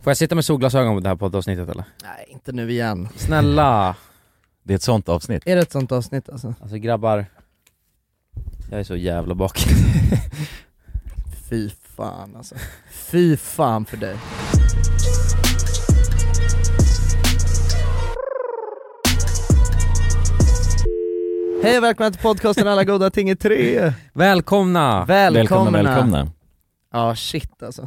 Får jag sitta med solglasögon på det här poddavsnittet eller? Nej, inte nu igen. Snälla! Det är ett sånt avsnitt. Är det ett sånt avsnitt alltså? Alltså grabbar, jag är så jävla bak. Fy fan alltså. Fy fan för dig. Hej och välkomna till podcasten Alla goda ting är tre. Välkomna! Välkomna. välkomna. Ja shit alltså.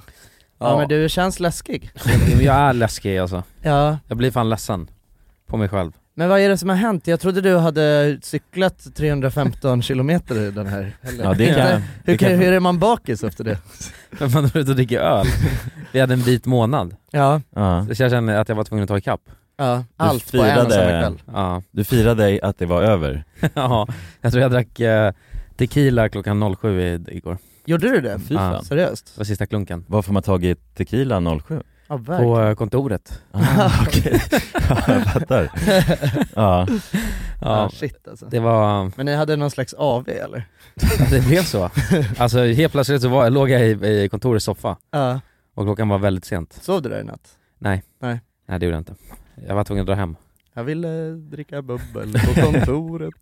Ja. ja, men du känns läskig. men jag är läskig alltså. Ja. Jag blir fan ledsen. På mig själv. Men vad är det som har hänt? Jag trodde du hade cyklat 315 kilometer i den här helgen. Ja, det kan, hur, det kan, kan, hur är man bakis efter det? Men man var ute och dricker öl. Vi hade en vit månad. Ja, ja. Så jag kände att jag var tvungen att ta ikapp. ja. Du allt på en och firade- samma kväll. Ja. Du firade att det var över. ja, jag tror jag drack eh, tequila klockan 07 i, igår. Gjorde du det? Fy Ja. fan. Seriöst? Det var sista klunken. Varför har man tagit tequila 07? Ja verkligen. På eh, kontoret. Ah, okej. Ja, jag fattar. Ja. Ja. Ja, Shit alltså. det var... Men ni hade någon slags AV eller? Ja, det blev så. Alltså helt plötsligt så var, jag låg jag i, i kontorets soffa Ja. och klockan var väldigt sent. Sov du där i natt? Nej det gjorde jag inte. Jag var tvungen att dra hem. Jag ville dricka bubbel på kontoret.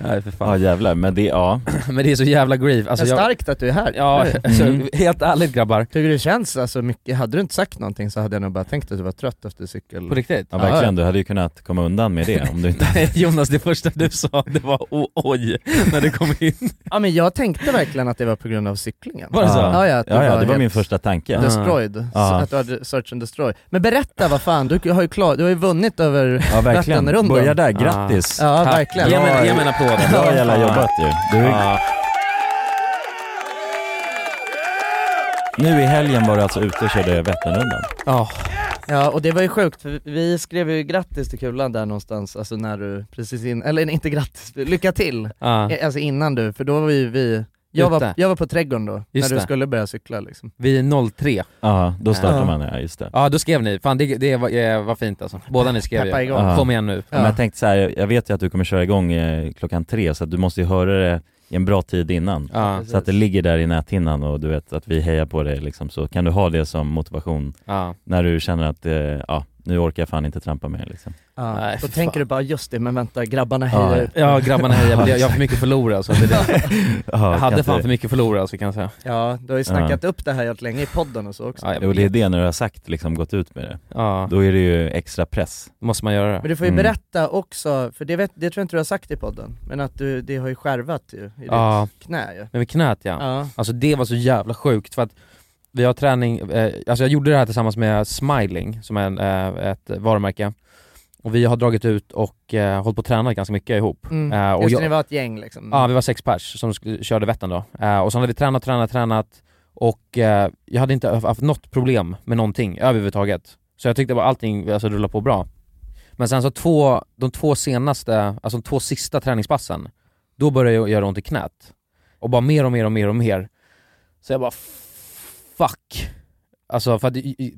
Nej för ja, fan. jävlar. Men det, ja. Men det är så jävla grief. Alltså, det är jag, starkt att du är här. ja, Eller hur? alltså, Mm. helt ärligt grabbar. Tycker du det känns alltså mycket, hade du inte sagt någonting så hade jag nog bara tänkt att du var trött efter cykel... På riktigt? ja, verkligen. Du hade ju kunnat komma undan med det om du inte... Nej, Jonas, det första du sa det var o- oj när du kom in. Ja men jag tänkte verkligen att det var på grund av cyklingen. Var det så? Ja, ja, att du ja, ja, var det var helt- min första tanke. Destroyed, Så Ja. att du hade search and destroy. Men berätta vad fan, du har ju, klar, du har ju vunnit över... Ja, verkligen. Vattenrundan. Börja där. Grattis. Ja Tack. verkligen. Ge mig, ge mig en applåd. Bra jävla jobbat ju. Du, Ja. Nu i helgen var du alltså ute och körde Vätternrundan. Ja. Ja och det var ju sjukt, för vi skrev ju grattis till Kulan där någonstans, alltså när du precis in, eller inte grattis, lycka till! Ja. Alltså innan du, för då var ju vi, jag, var, Ute. jag var på trädgården då, Just när du det. skulle börja cykla liksom. Vi är 03. Ja, då startar Ja. man, ja just det. Ja då skrev ni, fan det, det var, eh, var fint alltså. Båda ni skrev Peppa ju. igång. Ja. Kom igen nu. Men Ja. jag tänkte så här, jag vet ju att du kommer köra igång eh, klockan tre så att du måste ju höra det i en bra tid innan. Ja. Så att det ligger där i näthinnan och du vet att vi hejar på dig liksom, så kan du ha det som motivation Ja. när du känner att eh, ja, nu orkar jag fan inte trampa mer liksom. Ja. Nej, då fy tänker fan. du bara just det, men vänta grabbarna Ja, hejar ut. Ja grabbarna hejar, men jag jag har för mycket att förlora så det är det. Ja, Jag hade kan fan inte- för mycket att förlora så kan jag säga. Ja, du har ju snackat upp det här helt länge i podden och så också. Ja, jag Jo det är vet. det när du har sagt liksom, gått ut med det. Ja, Då är det ju extra press. måste man göra Men det. du får ju Mm. berätta också, för det, vet, det tror jag inte du har sagt i podden, men att du, det har ju skärvat ju, i ditt Ja, knä ju. men med knät ja. Ja. Alltså det var så jävla sjukt för att vi har träning, eh, alltså jag gjorde det här tillsammans med Smiling som är en, eh, ett varumärke. Och vi har dragit ut och eh, hållit på och tränat ganska mycket ihop. Mm. Eh, och Just jag- det, ni var ett gäng liksom. Ja, vi var sex pers som sk- körde Vättern då. Eh, och sen hade vi tränat, tränat, tränat och eh, jag hade inte haft- haft något problem med någonting överhuvudtaget. Så jag tyckte bara allting alltså, rullade på bra. Men sen så två, de två senaste, alltså de två sista träningspassen, då började jag göra ont i knät. Och bara mer och mer och mer och mer. Så jag bara fuck. Alltså för att i- i-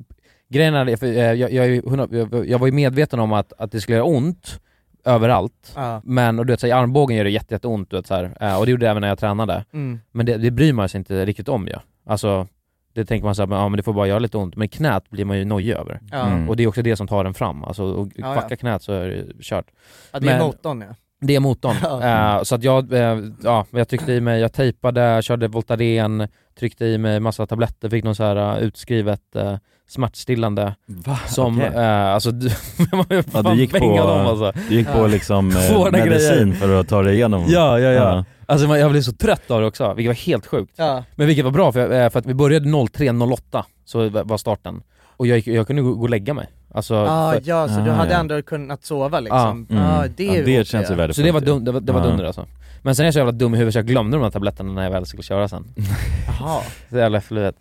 grejen är, det, för, eh, jag, jag, är ju hundra- jag, jag var ju medveten om att, att det skulle göra ont överallt. Ja. Men och du vet, så här, i armbågen gör det jätte, jätteont, du vet, så här. Eh, och det gjorde det även när jag tränade. Mm. Men det, det bryr man sig inte riktigt om ju. Alltså, det tänker man såhär, ja men det får bara göra lite ont. Men knät blir man ju nojig över. Ja. Mm. Och det är också det som tar den fram. Alltså, och Ja, ja. fucka knät så är det kört. ja, det är Men- motorn ja. Det är motorn. Ja. Eh, så att jag, eh, ja, jag tryckte i mig, jag tejpade, körde Voltaren, tryckte i mig massa tabletter, fick någon så här eh, utskrivet eh, smärtstillande Va? som, Okej. eh, alltså du, man var ju Ja, fan du gick på, eh, bängad om alltså. Du gick Ja. på liksom eh, Hårda medicin för att ta dig igenom. Ja, ja, ja. Alltså man- jag blev så trött av det också, vilket var helt sjukt. Ja. Men vilket var bra, för, eh, för att vi började 03.08, så var starten. Och jag, gick- jag kunde gå gå och lägga mig. Alltså, Ah, för, ja, så du Ah, hade ja. ändå kunnat sova liksom? Mm. Ja, det är ja, ju det okej. känns ju värdefullt. så det var, dum, det var, det var Ja. dunder alltså. Men sen är jag så jävla dum i huvudet så jag glömde de här tabletterna när jag väl skulle köra sen. Jaha. Så jävla fluet.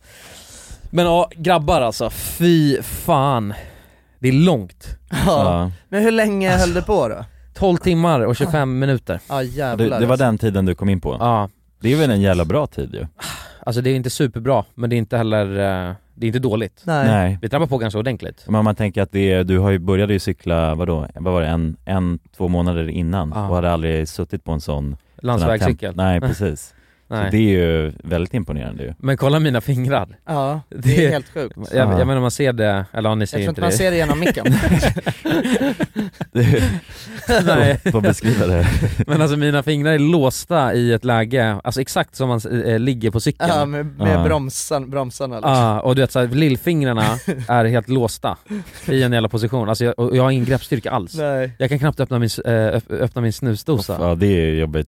Men ja, grabbar alltså, fy fan. Det är långt. Ja. Ja. Men hur länge höll det på då? 12 timmar och 25 minuter. Ja Det, jävlar alltså. det var den tiden du kom in på. alltså. Ja, Det är väl en jävla bra tid ju? alltså det är inte superbra, men det är inte heller, eh, det är inte dåligt. Nej. Nej. Vi trampar på ganska ordentligt. Men om man tänker att det är, du har ju började ju cykla, vadå, vad var det, en, en två månader innan Ja. och hade aldrig suttit på en sån sån här temp- Landsvägscykel. Nej precis Nej. Så det är ju väldigt imponerande ju. Men kolla mina fingrar. Ja, det Det- är helt sjukt. Jag, jag menar man ser det, eller ja, ni ser Jag tror inte inte det. man ser det genom micken. Det är- Nej. Får- Får beskriva det. Men alltså mina fingrar är låsta i ett läge, alltså exakt som man eh, ligger på cykeln. ja, med, med Ja. bromsan, bromsarna liksom. Ja, och du vet såhär, lillfingrarna är helt låsta i en jävla position, alltså jag, och jag har ingen greppstyrka alls. Nej. Jag kan knappt öppna min, s- eh, öpp- öppna min snusdosa. Ja det är ju jobbigt.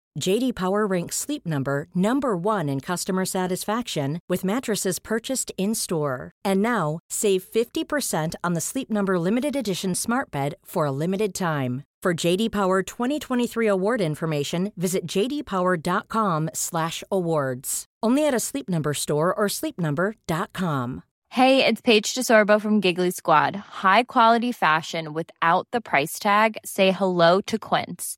JD Power ranks Sleep Number number 1 in customer satisfaction with mattresses purchased in-store. And now, save 50% on the Sleep Number limited edition Smart Bed for a limited time. For JD Power 2023 award information, visit jdpower.com/awards. Only at a Sleep Number store or sleepnumber.com. Hey, it's Paige DeSorbo from Giggly Squad. High quality fashion without the price tag. Say hello to Quince.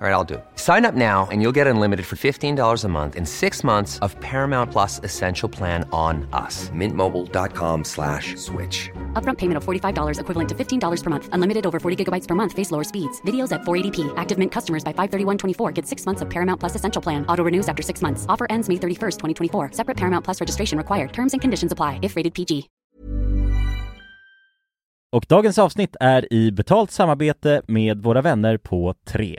All right, I'll do it. Sign up now and you'll get unlimited for $15 a month in six months of Paramount Plus Essential Plan on us. Mintmobile.com slash switch. Upfront payment of $45 equivalent to $15 per month. Unlimited over 40 gigabytes per month. Face lower speeds. Videos at 480p. Active Mint customers by 531.24 get six months of Paramount Plus Essential Plan. Auto renews after six months. Offer ends May 31st, 2024. Separate Paramount Plus registration required. Terms and conditions apply if rated PG. Och dagens avsnitt är i betalt samarbete med våra vänner på 3.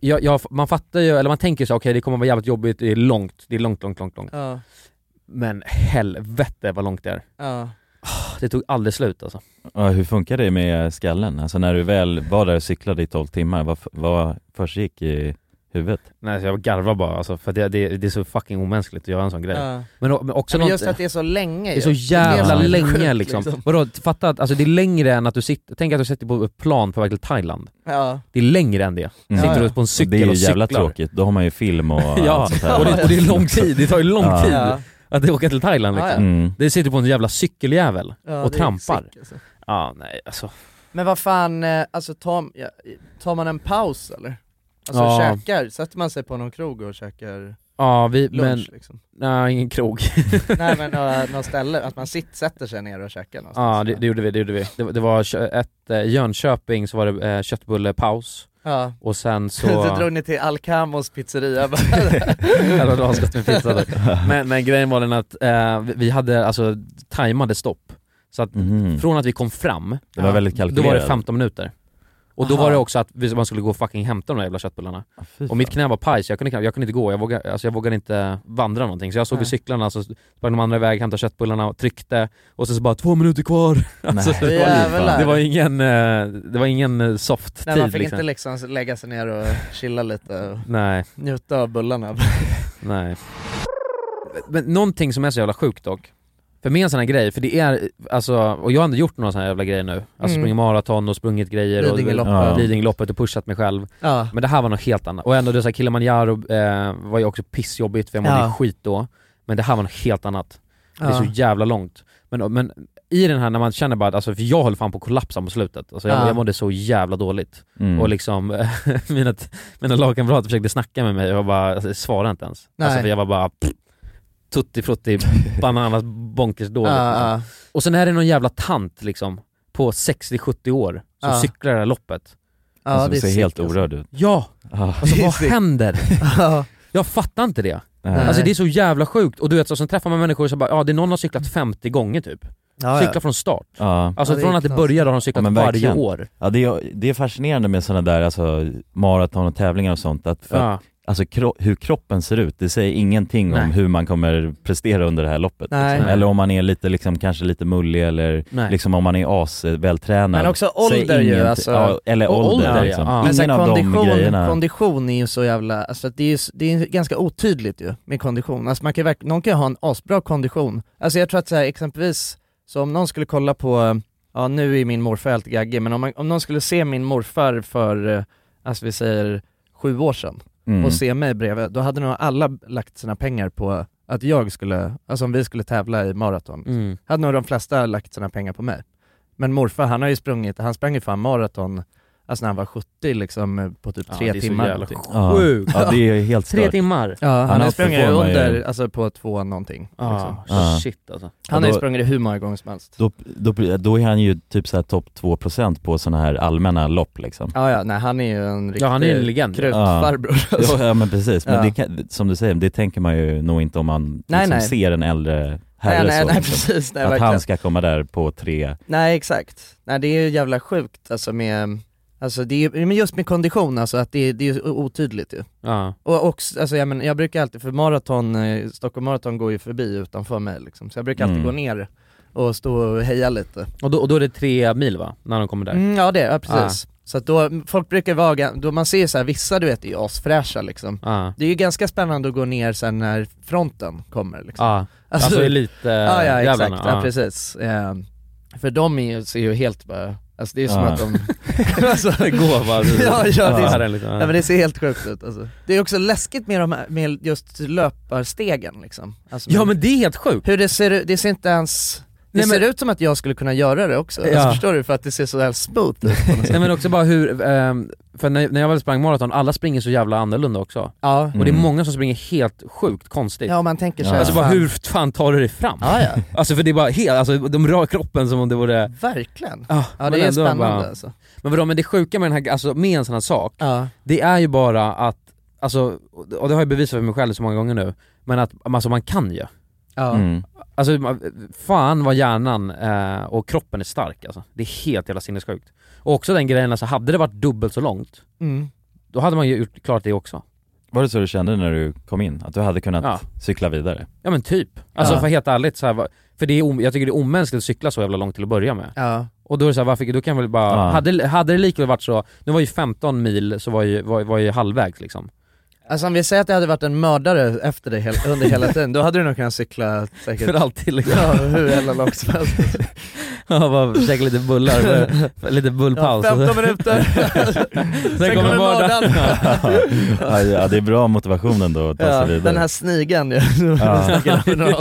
Jag, jag, man fattar ju, eller man tänker så okej det kommer vara jävligt jobbigt, det är långt, det är långt, långt, långt, långt. Ja, Men helvete vad långt det är. ja. Det tog aldrig slut alltså. Ja, hur funkar det med skallen? Alltså när du väl var där och cyklade i 12 timmar, vad, f- vad försiggick i huvudet? Nej, så jag garvar bara alltså, för det, det, det är så fucking omänskligt att göra en sån grej. Ja. Men, o- men också Ja, men något- just att det är så länge Det är så ju. jävla som är länge sjukt, liksom. Vadå, fatta att alltså, det är längre än att du sitter, tänk att du sitter på ett plan på väg till Thailand. Ja. Det är längre än det. Mm. Sitter Ja, du ja. på en cykel det är ju och jävla cyklar. tråkigt, då har man ju film och Ja, allt sånt här. och det, och det är lång tid, det tar ju lång Ja. tid Ja. att åka till Thailand liksom. Ja, Mm. Det sitter på en jävla cykeljävel. Ja, Och det är trampar. sick, alltså. Ja, nej alltså. Men vad fan, eh, alltså tar, ja, tar man en paus eller? Alltså Ja. käkar, sätter man sig på någon krog och käkar Ja, vi, lunch men, liksom? nej ingen krog. Nej men några, något ställe, att man sitt, sätter sig ner och käkar Alltså, någonstans Ja, det, det gjorde vi, det gjorde vi. Det, var- det var kö- ett, eh, Jönköping så var det eh, köttbullepaus, Ja, och sen så... så, drog ni till Alcamos pizzeria bara Det hade varit asgott med pizza då. men, men grejen var den att eh, vi- vi hade alltså tajmade stopp. Så att Mhm. från att vi kom fram, Det var väldigt då kalkylerat. var det 15 minuter. Och då Aha. var det också att vi- man skulle gå och fucking hämta de där jävla köttbullarna. Ja, Ah, fy Och mitt fan. knä var paj så jag kunde, knappt- jag kunde inte gå, jag vågade, alltså jag vågade inte vandra någonting. Så jag såg Nej. vid cyklarna, så sprang de andra iväg, hämtade köttbullarna och tryckte. Och sen så bara två minuter kvar. Alltså, Nej, det, fy var, fan. Jävlar. det var ingen, eh, det var ingen eh, soft Nej tid man fick liksom. inte liksom lägga sig ner och chilla lite och Nej. njuta av bullarna Nej. Men någonting som är så jävla sjukt dock, för med en sån här grej, för det är, alltså, och jag har ändå gjort några såna här jävla grejer nu, alltså Mm. sprungit maraton och sprungit grejer och Lidingöloppet. Ja. Lidingöloppet och pushat mig själv. Ja, Men det här var något helt annat. Och ändå det är så här, Kilimanjaro eh, var ju också pissjobbigt för jag mådde Ja. skit då. Men det här var något helt annat. Det är Ja. så jävla långt. Men, men i den här när man känner bara att, alltså, för jag höll fan på att kollapsa på slutet. Alltså, jag, Ja. jag mådde så jävla dåligt. Mm. Och liksom, mina, mina lagkamrater försökte snacka med mig och jag bara, alltså, jag svarade inte ens. Nej. Alltså för jag var bara pff, tutti frutti, bananas bonkers dåligt. Ah, liksom. ja, Och sen är det någon jävla tant liksom, på 60-70 år, som Ah. Ja. cyklar det här loppet. ja alltså, det du är ser helt sick, alltså. orörd ut. Ja! Ah, Alltså Det är vad sick. händer? Ja. Jag fattar inte det. Nej. Alltså det är så jävla sjukt. Och du vet, så, sen träffar man människor som bara, ja det är någon har cyklat 50 gånger typ. Ja, Cyklar ja. från start. Ah, Ja. Alltså Ja, det är från att det knasigt. började har de cyklat Ja, men varje verkligen. år. Ja, det, är, det är fascinerande med sådana där alltså, maraton och tävlingar och sånt, att för, Ja. alltså, kro- hur kroppen ser ut, det säger ingenting om Nej. hur man kommer prestera under det här loppet. Nej. Liksom. Eller om man är lite, liksom, kanske lite mullig eller Nej. liksom, om man är asvältränad. Men också Säger ålder ju, ingenting. alltså. ja, Eller Och ålder, ålder, ja. liksom. Ja. Alltså, Men Ingen så här, av kondition, de grejerna. kondition är ju så jävla, alltså det är ju s- det är ju ganska otydligt ju med kondition. Alltså man kan, ju verk- någon kan ju ha en asbra kondition. Alltså jag tror att så här, exempelvis, så om någon skulle kolla på, ja nu är min morfar helt gaggig, men om, man, om någon skulle se min morfar för, eh, alltså vi säger sju år sedan Mm. och se mig bredvid, då hade nog alla lagt sina pengar på att jag skulle, alltså om vi skulle tävla i maraton, Mm. hade nog de flesta lagt sina pengar på mig. Men morfar han har ju sprungit, han sprang ju fan maraton, alltså när han var 70 liksom på typ Ja, tre det är så timmar. jävla någonting. Ja. Sjukt. Ja, det är helt Tre stört. timmar. Ja, han, Han har har sprungit performat ju. under, alltså på två någonting. Liksom. Ja, Ja. shit alltså. Han har ju då- sprungit hur många gånger som helst. Då, då, då är han ju typ såhär topp 2% på sådana här allmänna lopp liksom. Ja, ja, nej han är ju en riktig Ja han är en legend. krutfarbror. Alltså. Ja, ja men precis, men Ja. det kan, som du säger, det tänker man ju nog inte om man liksom Nej, nej. ser en äldre herre Nej, nej, så, nej liksom. precis, nej Att verkligen. han ska komma där på tre, Nej exakt, nej det är ju jävla sjukt alltså med, alltså det är ju, men just med kondition alltså att det, det är ju otydligt ju. Ja. Och också, alltså jag, men, jag brukar alltid, för maraton, eh, Stockholm maraton går ju förbi utanför mig liksom, så jag brukar alltid Mm. gå ner och stå och heja lite. Och, då, och då är det tre mil va? När de kommer där? Ah. Mm, ja det, ja precis. Så att då, folk brukar vara, ga- då man ser ju så här, vissa du vet är ju asfräscha liksom. Ja. Det är ju ganska spännande att gå ner sen när fronten kommer liksom. Ja. Alltså, lite eh, ja, ja exakt, jävlarna. ja, precis. Eh, för de är ju, ser ju helt bara, alltså det är ju som Ja. att de... alltså, Gå bara. Ah. du- ja, ja, det är Ja, så det är lite, ja. Nej men det ser helt sjukt ut alltså. Det är också läskigt med, de här, med just löparstegen liksom. Alltså, ja men det är helt sjukt. Hur det ser ut, det ser inte ens... Det Nej, men- ser ut som att jag skulle kunna göra det också, Ja. alltså, förstår du? För att det ser så här smooth ut. Nej men också bara hur, ehm, för när, när jag väl sprang maraton, alla springer så jävla annorlunda också. Ja, Och det är Mm. många som springer helt sjukt konstigt. ja om man tänker sig Ja. Alltså bara hur fan tar du dig fram? Ja, ja. Alltså för det är bara helt, alltså de rör kroppen som om det vore... Verkligen. Ah, Ja men det är ändå spännande bara- alltså. Men vadå, men det sjuka med den här, alltså med en sån här sak, Ja. det är ju bara att, alltså, och det har jag bevisat för mig själv så många gånger nu, men att alltså, man kan ju. Ja. mm. Alltså man- fan vad hjärnan eh, och kroppen är stark alltså. Det är helt jävla sinnessjukt. Och också den grejen, alltså hade det varit dubbelt så långt, Mm. då hade man ju gjort klart det också. Var det så du kände när du kom in? Att du hade kunnat Ja. cykla vidare? Ja men typ. Alltså Ja. för helt ärligt så här, var- För det är, om- jag tycker det är omänskligt att cykla så jävla långt till att börja med. Ja. Och då är det så här, varför, då kan jag väl bara, Ja. hade, hade det likväl varit så, nu var ju 15 mil så var ju, var, var ju halvvägs liksom. Alltså om vi säger att det hade varit en mördare efter dig hel- under hela tiden, då hade du nog kunnat cykla säkert För alltid liksom. Ja, hur jävla långt som helst. Ja, bara käka lite bullar, för- för lite Ja, bullpaus. 15 minuter. Sen kommer mördaren. ja, ja, det är bra motivation ändå att ta sig Ja, vidare. den här snigan ju. Ja.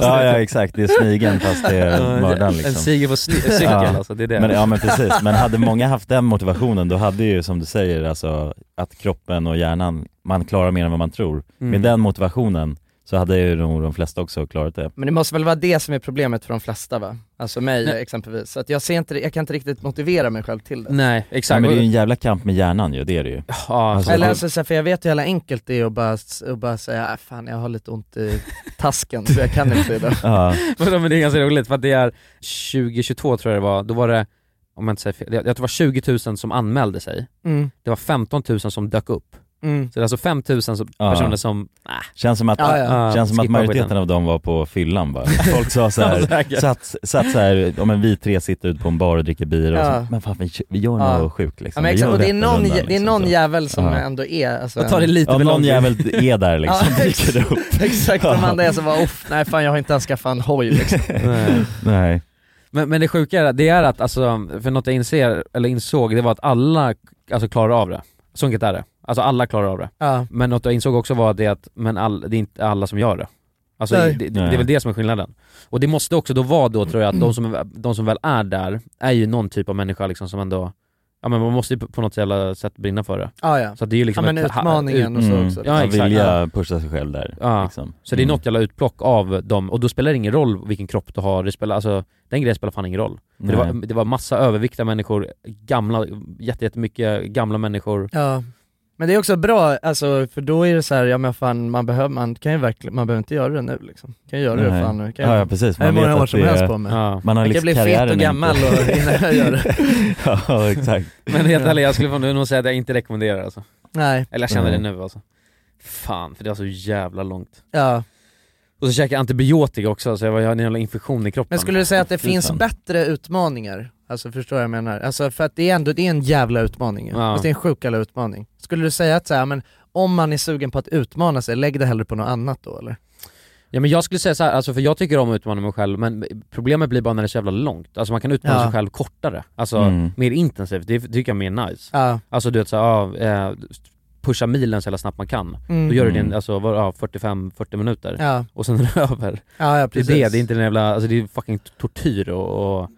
ja, ja exakt, det är snigen fast det är mördaren En liksom. siger på sny- cykel Ja. alltså, det är det. Men, ja men precis, men hade många haft den motivationen då hade ju som du säger alltså att kroppen och hjärnan, man klarar mer än vad man tror. Mm. Med den motivationen så hade ju nog de flesta också klarat det. Men det måste väl vara det som är problemet för de flesta va? Alltså mig Nej. exempelvis. Så att jag, ser inte, jag kan inte riktigt motivera mig själv till det. Nej, Ja, exakt. men det är ju en jävla kamp med hjärnan ju, det är det ju. Ja, Alltså, Eller Ja. alltså, så här, för jag vet hur jävla enkelt det är att bara, att bara säga "Ah, fan jag har lite ont i tasken så jag kan inte idag. Ja, Men men det är ganska roligt för att det är 2022 tror jag det var, då var det, om jag inte säger fel, jag jag tror det var 20 000 som anmälde sig. Mm. Det var 15 000 som dök upp. Mm. Så det är alltså 5 000 som, Ja. personer som... känns som att, Ja, ja. ah, känns som att skippar majoriteten skiten. av dem var på fyllan bara. Folk sa så här, Ja, säkert. satt, satt så här, ja, men vi tre sitter ute på en bar och dricker bira och Ja. så, men fan vi, vi gör Ja. något sjukt Ja, liksom. men Vi exakt, gör och det är någon, Vätternrundan, det är liksom, någon så. jävel som Ja. ändå är alltså, Jag tar det en- lite Ja, för någon långt. jävel är där liksom, Ja, exakt. dyker upp. Exakt, de andra är så bara off, nej fan jag har inte ens skaffat en hoj liksom. Nej. Nej. Men, men det sjuka är, det är att, alltså, för något jag inser, eller insåg, det var att alla alltså, klarar av det. Så enkelt är det. Alltså alla klarar av det. Ja. Men något jag insåg också var det att, men all, det är inte alla som gör det. Alltså det, Nej. det, Nej. är väl det som är skillnaden. Och det måste också då vara då tror jag att de som, de som väl är där är ju någon typ av människa liksom som ändå, ja men man måste ju på- på något jävla sätt brinna för det. Ja, ja. Så att det är ju liksom ja men ett- ha- utmaningen ut- och så Mm. också. Ja, Att exakt. vilja pusha sig själv där. Ja. Liksom. Så det är Mm. något jävla utplock av dem, och då spelar det ingen roll vilken kropp du har, det spelar, alltså den grejen spelar fan ingen roll. För det, Nej. var, det var massa överviktiga människor, gamla, jätte- jättemycket gamla människor. Ja. Men det är också bra, alltså, för då är det så här, ja men fan man behöver, man kan ju verkligen, man behöver inte göra det nu liksom. Kan ju göra Nej. det fan nu. Kan Ja, ja jag, precis, jag har man vet många år att som det helst är... på mig. Ja. Man har Jag kan liksom bli fet karriären och inte- gammal och, innan jag gör det. ja, exakt. Men helt ärligt, jag skulle fan nog säga att jag inte rekommenderar alltså. Nej, Eller jag känner Nej. det nu alltså. Fan, för det var så jävla långt. ja. Och så käkade jag antibiotika också, så jag, var, jag hade en jävla infektion i kroppen. Men skulle du säga att det Fy finns fan. bättre utmaningar? Alltså förstår vad jag menar? Alltså för att det är ändå, det är en jävla utmaning ju. Ja. Fast det är en sjuk jävla utmaning. Skulle du säga att så här, men om man är sugen på att utmana sig, lägg det hellre på något annat då eller? Ja men jag skulle säga så här, alltså för jag tycker om att utmana mig själv, men problemet blir bara när det är så jävla långt. Alltså man kan utmana Ja. sig själv kortare, alltså Mm. mer intensivt, det tycker jag är mer nice. Ja. Alltså du vet såhär, ja, eh, pusha milen så jävla snabbt man kan. Mm. Då gör du det Mm. i alltså, vad- ja, 45-40 minuter, Ja, och sen är det över. ja, ja Det är precis. det, det är inte den jävla, alltså det är fucking tortyr och, och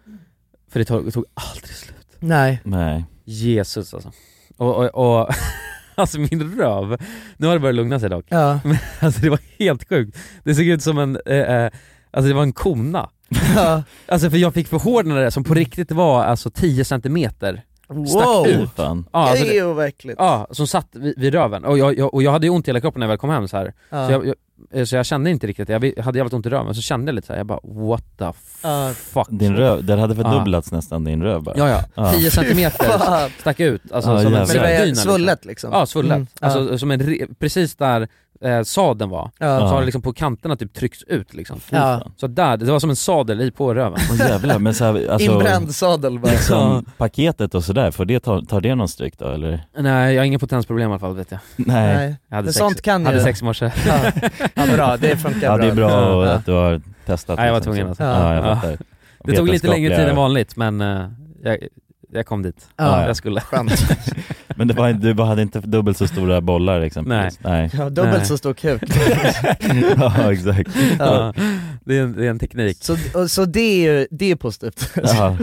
för det tog, det tog aldrig slut. Nej. Nej. Jesus alltså. Och, och, och alltså min röv, nu har det börjat lugna sig dock. Ja. Alltså det var helt sjukt. Det såg ut som en, eh, eh, alltså det var en kona. ja. Alltså för jag fick förhårdnader som på riktigt var alltså 10 centimeter. Oh. Wow! Fy fan. Ja, alltså det det, är overkligt. ja som satt vid, vid röven. Och jag, jag, och jag hade ju ont i hela kroppen när jag väl kom hem så här. Ja. Så, jag, jag, eh, så jag kände inte riktigt, jag vi- hade jävligt ont i röven, så kände jag lite så här, jag bara what the Ja. fuck. Din röv, den hade Ja. fördubblats nästan din röv bara. Ah. Ja ja, Ja. 10 centimeter Fan. stack ut. Alltså Ja, som en jävlar. Men det Svullet, släpdyna, var liksom. svullet liksom? Ja, svullet. Mm, ja. Alltså som en, re- precis där eh, sadeln var, så ja. har det liksom på kanterna typ tryckts ut liksom. Fy fan. Så där, det var som en sadel i på röven. Åh jävlar, men så här, alltså, Inbränd sadel bara. liksom, paketet och sådär, får det ta, tar det någon stryk då eller? Nej, jag har inga potensproblem i alla fall vet jag. Nej. Nej. Jag hade Men sex, sånt kan ju- hade sex i morse. Ja. ja, bra. Det funkar Ja det är bra Ja. att du har testat. Nej, jag var liksom, tvungen så. alltså. Ja, jag Ja. fattar. Det tog lite längre tid än Vetenskapliga- vanligt men eh, jag, jag kom dit. Ja. Jag skulle. Skönt. Men det var, du bara hade inte dubbelt så stora bollar exempelvis? Nej. Ja, dubbelt Nej. så stor kuk. ja exakt. Ja. Ja. Det, är en, det är en teknik. Så, och, så det är ju det är positivt. Ja.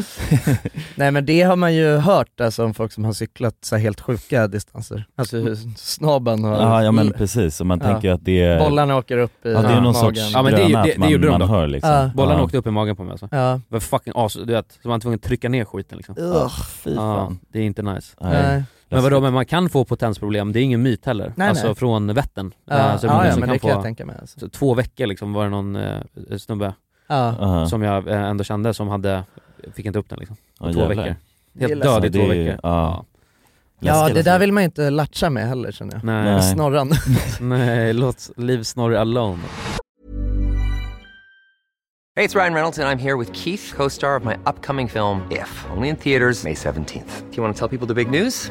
Nej men det har man ju hört alltså, om folk som har cyklat så här, helt sjuka distanser. Alltså hur snabben och Ja, ja men precis, och man Ja. tänker ju att det är, bollarna åker upp i ja, det är Ja. någon magen. sorts Ja, men det är ju- dröm det- att det man, gjorde de man då. hör liksom. Ja. Bollarna ja. åkte upp i magen på mig alltså. Ja. Det var fucking as, du vet. Så man var tvungen att trycka ner skiten liksom. Ugh. Fy Ja, fan. det är inte nice. Nej. Men vadå, men man kan få potensproblem, det är ingen myt heller. Nej, alltså nej. från Vättern. Ja, Eh, så det är ja, många ja som men det kan få- jag tänka mig. Alltså. så två veckor liksom var det någon eh, snubbe Ja. Aha. som jag eh, ändå kände som hade, fick inte upp den liksom. Ja, två jävlar. veckor. Det är Helt ledsamt. död i Det två är ju- veckor. ja. ja Läskigt, det där alltså. vill man ju inte latcha med heller känner jag. Nej, Nej. nej, Snorran. låt leave Snorri alone. Hey, it's Ryan Reynolds, and I'm here with Keith, co star of my upcoming film, If, only in theaters, May 17th. Do you want to tell people the big news?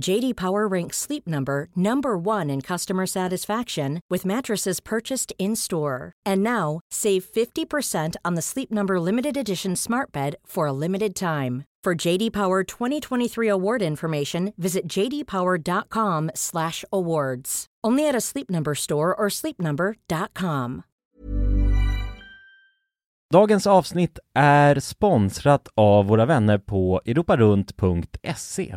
JD Power ranks Sleep Number number 1 in customer satisfaction with mattresses purchased in-store. And now, save 50% on the Sleep Number limited edition Smart Bed for a limited time. For JD Power 2023 award information, visit jdpower.com/awards. Only at a Sleep Number store or sleepnumber.com. Dagens avsnitt är sponsrat av våra vänner på europarunt.se.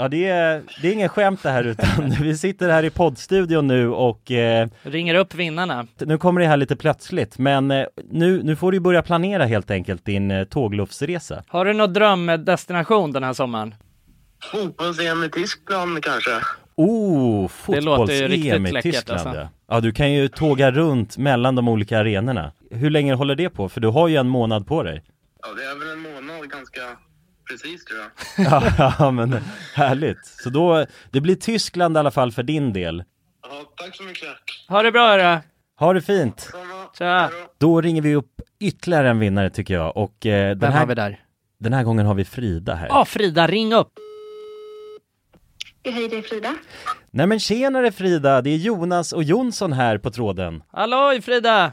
Ja, det är, det är ingen skämt det här utan vi sitter här i poddstudion nu och eh, Ringer upp vinnarna. nu kommer det här lite plötsligt men eh, nu, nu får du börja planera helt enkelt din eh, tågluffsresa. Har du någon drömdestination den här sommaren? Fotbolls-EM i Tyskland kanske? Oh, Det låter ju fotbolls-EM riktigt i läckert, Tyskland alltså. ja. ja, du kan ju tåga runt mellan de olika arenorna. Hur länge håller det på? För du har ju en månad på dig. Ja, det är väl en månad ganska precis tror jag. ja, men härligt. Så då, det blir Tyskland i alla fall för din del. Ja, tack så mycket. Ha det bra hörru. Ha det fint! Samma. Tja. Då ringer vi upp ytterligare en vinnare tycker jag och eh, den, Vem har vi här, där? den här gången har vi Frida här. Ja, Frida, ring upp. Hej, det är Frida. Nej men tjenare Frida, det är Jonas och Jonsson här på tråden. Halloj Frida!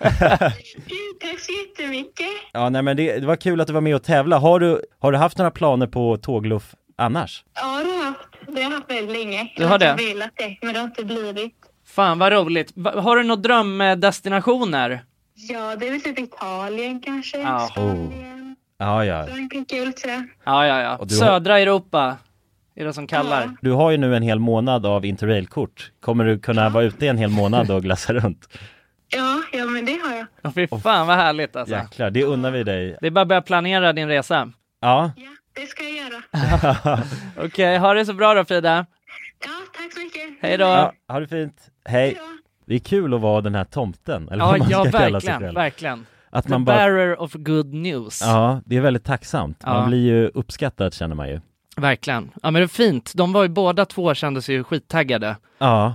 Gud, Tack så jättemycket. Ja, nej men det, det var kul att du var med och tävla. Har du, har du haft några planer på tågluff annars? Ja, det har jag haft. Det har jag haft väldigt länge. Du har det? Jag har velat det, men det har inte blivit. Fan vad roligt. Va- Har du några drömdestinationer? Ja, det är väl typ Italien kanske. Ja. Oh. Spanien. Ja, ja. Frankrike är väl lite sådär. Ja, ja, ja. Och du har- Södra Europa är det som kallar. Du har ju nu en hel månad av interrailkort. Kommer du kunna vara ute i en hel månad och glassa runt? Ja, ja, men det har jag. Ja. Fy fan vad härligt alltså. Jäklar, det unnar vi dig. Det är bara att börja planera din resa. Ja, Ja, det ska jag göra. Okej, ha det så bra då Frida. Ja, tack så mycket. Hej då. ja ha det fint. Hej. Hej då. Det är kul att vara den här tomten, eller Ja, vad man ja ska kalla sig verkligen, själv. verkligen. Att The man bara, bearer of good news. ja, det är väldigt tacksamt. Ja. Man blir ju uppskattad känner man ju. Verkligen. Ja men det är fint. De var ju båda två kände sig ju skittaggade. Ja,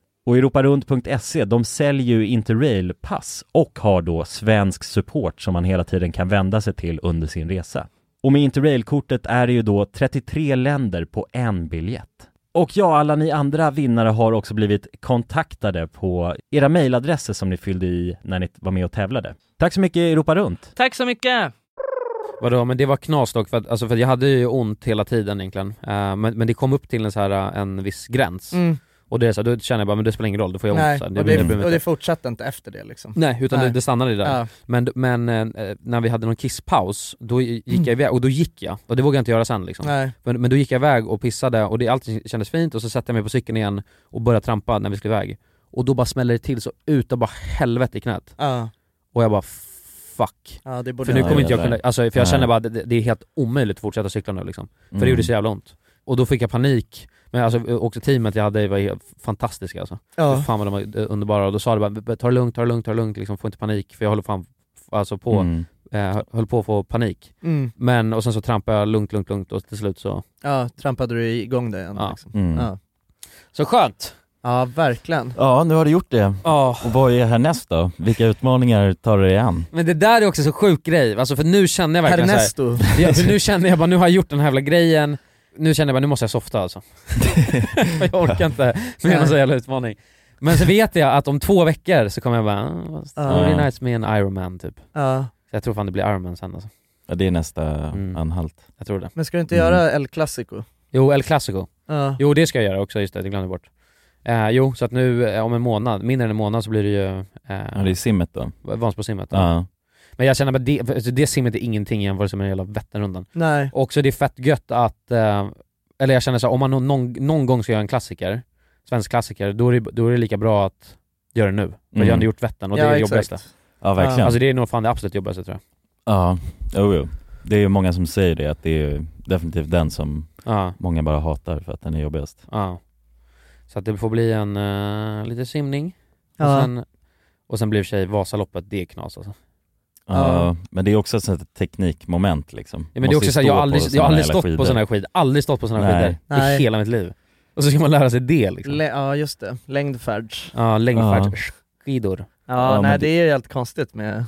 Och europarunt.se, E, de säljer ju Interrail-pass och har då svensk support som man hela tiden kan vända sig till under sin resa. Och med Interrail-kortet är det ju då 33 länder på en biljett. Och ja, alla ni andra vinnare har också blivit kontaktade på era mejladresser som ni fyllde i när ni var med och tävlade. Tack så mycket Europa Runt! Tack så mycket! Vadå, men det var knas dock, för att, alltså, för att jag hade ju ont hela tiden egentligen. Eh, men, men det kom upp till en, så här, eh, en viss gräns. Mm. Och det är så här, då känner jag bara, men det spelar ingen roll, då får jag ont. Nej, Så här, och blir- blir det, mitt- och det fortsatte inte efter det liksom. Nej, utan Nej. Det, det stannade Mm. där. Ja. Men, men eh, när vi hade någon kisspaus, då gick jag iväg, och då gick jag. Och det vågade jag inte göra sen liksom. Mm. Nej. Men, men då gick jag iväg och pissade och det, allt kändes fint och så satte jag mig på cykeln igen och började trampa när vi skulle iväg. Och då bara smäller det till så utav bara helvete i knät. Ja, Och jag bara fuck. ja det borde För nu Ja, kommer inte jag jävlar. kunna, alltså, för jag Nej. känner bara att det, det är helt omöjligt att fortsätta cykla nu liksom. För Mm. det gjorde så jävla ont. Och då fick jag panik. Men alltså också teamet jag hade var helt fantastiska alltså. ja. Fan vad de var eh, underbara. Och då sa de bara ta det lugnt, ta det lugnt, ta det lugnt liksom, få inte panik för jag håller fan alltså på, Mm. eh, höll på att få panik. Mm. Men, och sen så trampade jag lugnt, lugnt, lugnt och till slut så, ja, trampade du igång det igen Ja. liksom. Mm. Ja. så skönt! ja, verkligen. Ja, nu har du gjort det. Ja. Och vad är härnäst då? Vilka utmaningar tar du dig an? Men det där är också så sjuk grej, alltså för nu känner jag verkligen såhär, Ernesto. Ja, för nu känner jag bara nu har jag gjort den här jävla grejen, nu känner jag bara nu måste jag softa alltså. jag orkar inte med någon sån jävla utmaning. Men så vet jag att om två veckor så kommer jag bara, ah, fast det Ja. blir nice med en Ironman typ. Ja. Så jag tror fan det blir Ironman sen alltså. Ja, det är nästa Mm. anhalt. Jag tror det. Men ska du inte Mm. göra El Clasico? Jo, El Clasico. Ja. Jo det ska jag göra också, just det, det glömde jag bort. Eh, jo, så att nu eh, om en månad, mindre än en månad så blir det ju Ja, eh, det är simmet då. Vansbrosimmet. Ja. Men jag känner bara det, alltså, det simmet är ingenting i jämförelse med den jävla Vätternrundan. Nej. Och så det är fett gött att, eh, eller jag känner så här, om man någon, någon gång ska göra en klassiker, svensk klassiker, då är det, då är det lika bra att göra det nu. För jag Mm. har ändå gjort Vättern och det är det jobbigaste. Ja, verkligen. Ja. Alltså det är nog fan det absolut jobbigaste tror jag. Ja, jo, jo. Det är ju många som säger det, att det är definitivt den som Ja, många bara hatar för att den är jobbigast. ja. Så att det får bli en, eh, lite simning, och, Ja. sen, och sen blir i och för sig Vasaloppet, det är knas alltså. Ja. Ja. Men det är också ett sånt här teknikmoment liksom. Ja, men det är Måste ju också såhär, stå jag har på aldrig, jag såna har aldrig jävla stått på skidor. sådana här skidor, aldrig stått på sådana här Nej. skidor Nej. i hela mitt liv. Och så ska man lära sig det liksom. Le- ja, just det. Längdfärds. ja, längdfärdsskidor. Ja, Ja, men nej det- det är ju helt konstigt med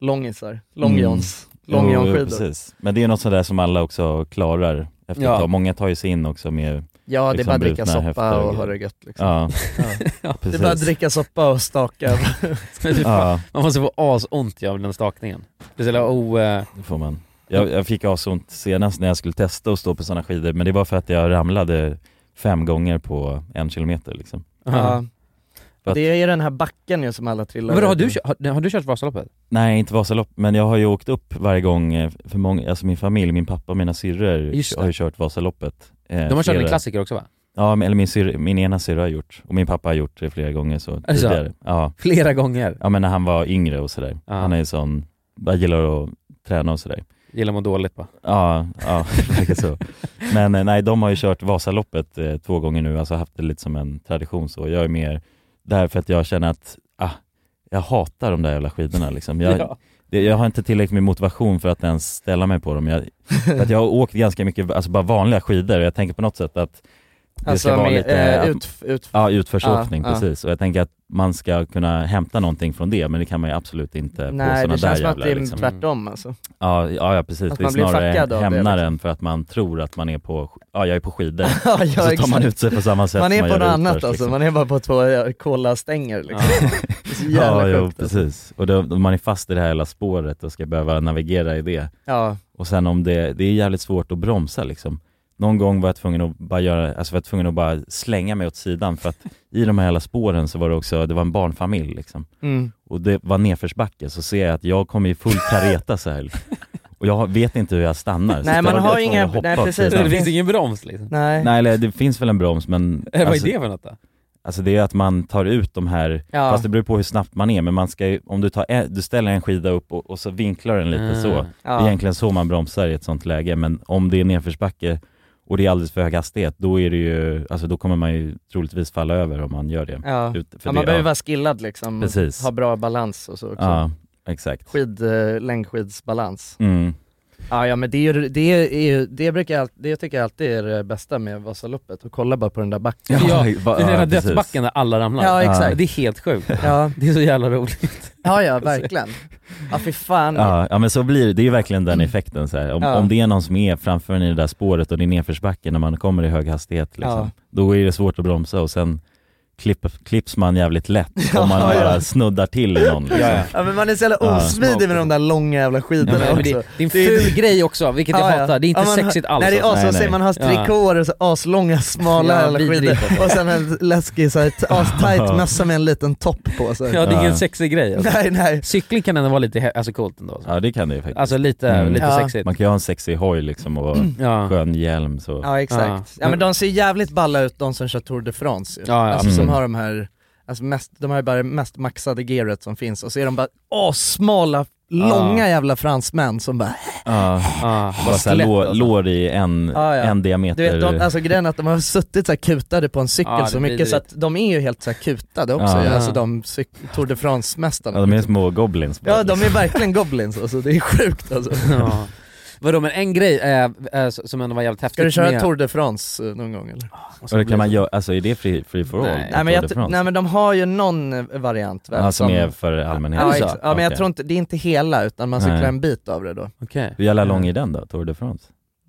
långisar, Mm. långjons, Jo, jo, långjonskidor. precis. Men det är något sånt där som alla också klarar efter Ja. ett tag. Många tar ju sig in också med, Ja, det är Liksom bara att dricka brutna soppa höfter och- och ha det gött liksom. ja, Ja, Det är precis. bara att dricka soppa och staka. Men fy fan, Ja, Man måste få asont av den stakningen. Det är så jävla o... eh, det får man. Jag, jag fick asont senast när jag skulle testa att stå på sådana skidor, men det var för att jag ramlade fem gånger på en kilometer liksom. ja. För att- Det är ju den här backen ju som alla trillar Men vadå, har över. du, kö- har, har du kört Vasaloppet? Nej, inte Vasalopp, men jag har ju åkt upp varje gång eh, för många, alltså min familj, min pappa och mina syrror Just det. har ju kört Vasaloppet. eh, De har kört flera- en klassiker också va? Ja, men- eller min, syrra- min ena syrra har gjort, och min pappa har gjort det flera gånger så det så? tidigare. Ja. Flera gånger. ja, men när han var yngre och sådär. Ja. Han är ju sån, bara gillar att träna och sådär. Gillar man dåligt va? Ja, ja, verkar så. Men eh, nej, de har ju kört Vasaloppet eh, två gånger nu, alltså haft det lite som en tradition så. Jag är mer där för att jag känner att, ah, jag hatar de där jävla skidorna liksom. Jag, Ja. det, jag har inte tillräckligt med motivation för att ens ställa mig på dem. Jag, för att jag har åkt ganska mycket, alltså bara vanliga skidor och jag tänker på något sätt att det Alltså ska vara med, lite, eh, att- ut, ut, ja utförsåkning Ja, ja. precis. Och jag tänker att man ska kunna hämta någonting från det, men det kan man ju absolut inte eh, på Nej sådana det där känns som att jävlar det är liksom. tvärtom alltså. Ja, ja, ja precis. Att det är man blir fuckad snarare av det, liksom. hämnaren för att man tror att man är på, ja jag är på skidor. ja, Och så tar man ut sig på samma sätt man som är på gör något annat utförs, alltså, liksom. man är bara på två eh, kolastänger liksom. Det är så jävla Ja, jo, sjukt alltså. precis. Och då, då man är fast i det här hela spåret och ska behöva navigera i det. Ja, Och sen om det, det är jävligt svårt att bromsa liksom. Någon gång var jag tvungen att bara göra, alltså var jag tvungen att bara slänga mig åt sidan för att i de här hela spåren så var det också, det var en barnfamilj liksom. mm. Och det var nedförsbacke så ser jag att jag kommer i full kareta så här. Och jag vet inte hur jag stannar. så Nej, man jag har var inga- tvungen att hoppa nej, åt precis. sidan. Det finns ingen broms liksom. nej. Nej eller det finns väl en broms men Eh, Vad alltså, är det för något då? Alltså det är att man tar ut de här, Ja. fast det beror på hur snabbt man är, men man ska ju, om du, tar, en- du ställer en skida upp och, och så vinklar den lite Ah. så. Det är Ja. egentligen så man bromsar i ett sånt läge, men om det är nedförsbacke och det är alldeles för hög hastighet, då är det ju, alltså då kommer man ju troligtvis falla över om man gör det. Ja. Ut- för ja, det- man behöver vara skillad liksom, Precis. ha bra balans och så också. Ja, exakt. Skid, eh, längdskidsbalans. Mm. Ja, ja men det, är, ju- det, är, ju- det, brukar jag, all- det tycker jag alltid är det bästa med Vasaloppet, och kolla bara på den där backen. Ja, Ja, va- det är den ja, här precis. dödsbacken där alla ramlar. Ja, exakt. Det är helt sjukt. Ja, Det är så jävla roligt. ja, ja verkligen. Ja fy fan. Ja, ja men så blir det, det är ju verkligen den effekten så här. Om, Ja. om det är någon som är framför en i det där spåret och det är nedförsbacke när man kommer i hög hastighet liksom, Ja. då är det svårt att bromsa och sen klipp, klipps man jävligt lätt om man Ja, ja. bara snuddar till i någon liksom. Ja, ja. Ja men man är så jävla Ja. osmidig med de där långa jävla skidorna alltså, men det, också. det är en Det är- ful grej också, vilket Ja, jag ja. hatar. Det är inte Ja, man har- sexigt alls. Nej det är alltså. Nej, as, nej. man har trikåer och så aslånga smala Ja, jävla vidrigt, skidor och sen en läskig så här, t- astight mössa med en liten topp på sig. Ja, det är ingen Ja. sexig grej. Alltså. Nej nej. Cykling kan ändå vara lite he- alltså, coolt ändå. Alltså, Ja, det kan det ju faktiskt. alltså lite, Mm. lite Ja. sexigt. Man kan ju ha en sexig hoj liksom och Ja. skön hjälm så. Mm. Ja exakt. Ja. Ja men de ser jävligt balla ut de som kör Tour de France ju. Ja, ja, alltså, absolut. som har de här, alltså mest, de har ju bara det mest maxade gearet som finns och så är de bara assmala, långa jävla fransmän som bara Ja. Ah, Bara bara såhär skelett, lår, alltså. lår i en, Ah, Ja, ja. en diameter. Du vet, de, alltså grejen är att de har suttit så här kutade på en cykel Ja, det så är mycket vidrigt. så att de är ju helt så här kutade också Ja. ju, alltså de cyk- Tour de ja, France-mästarna. de är små goblins. liksom. Ja de är verkligen goblins alltså, det är sjukt alltså. Ja. Vadå men en grej eh, eh, som ändå var jävligt häftigt Ska du köra med- Tour de France eh, någon gång eller? Och så Och det blir kan man så- göra, alltså är det free, free for all? Nej. Tour Nej men, de jag, tr- France? nej men de har ju någon eh, variant väl? ja, som är för allmänheten? Ja, exa- ja men jag Okej. tror inte, det är inte hela utan man Nej. cyklar en bit av det då. Okej. Hur jävla Mm. lång är den då, Tour de France?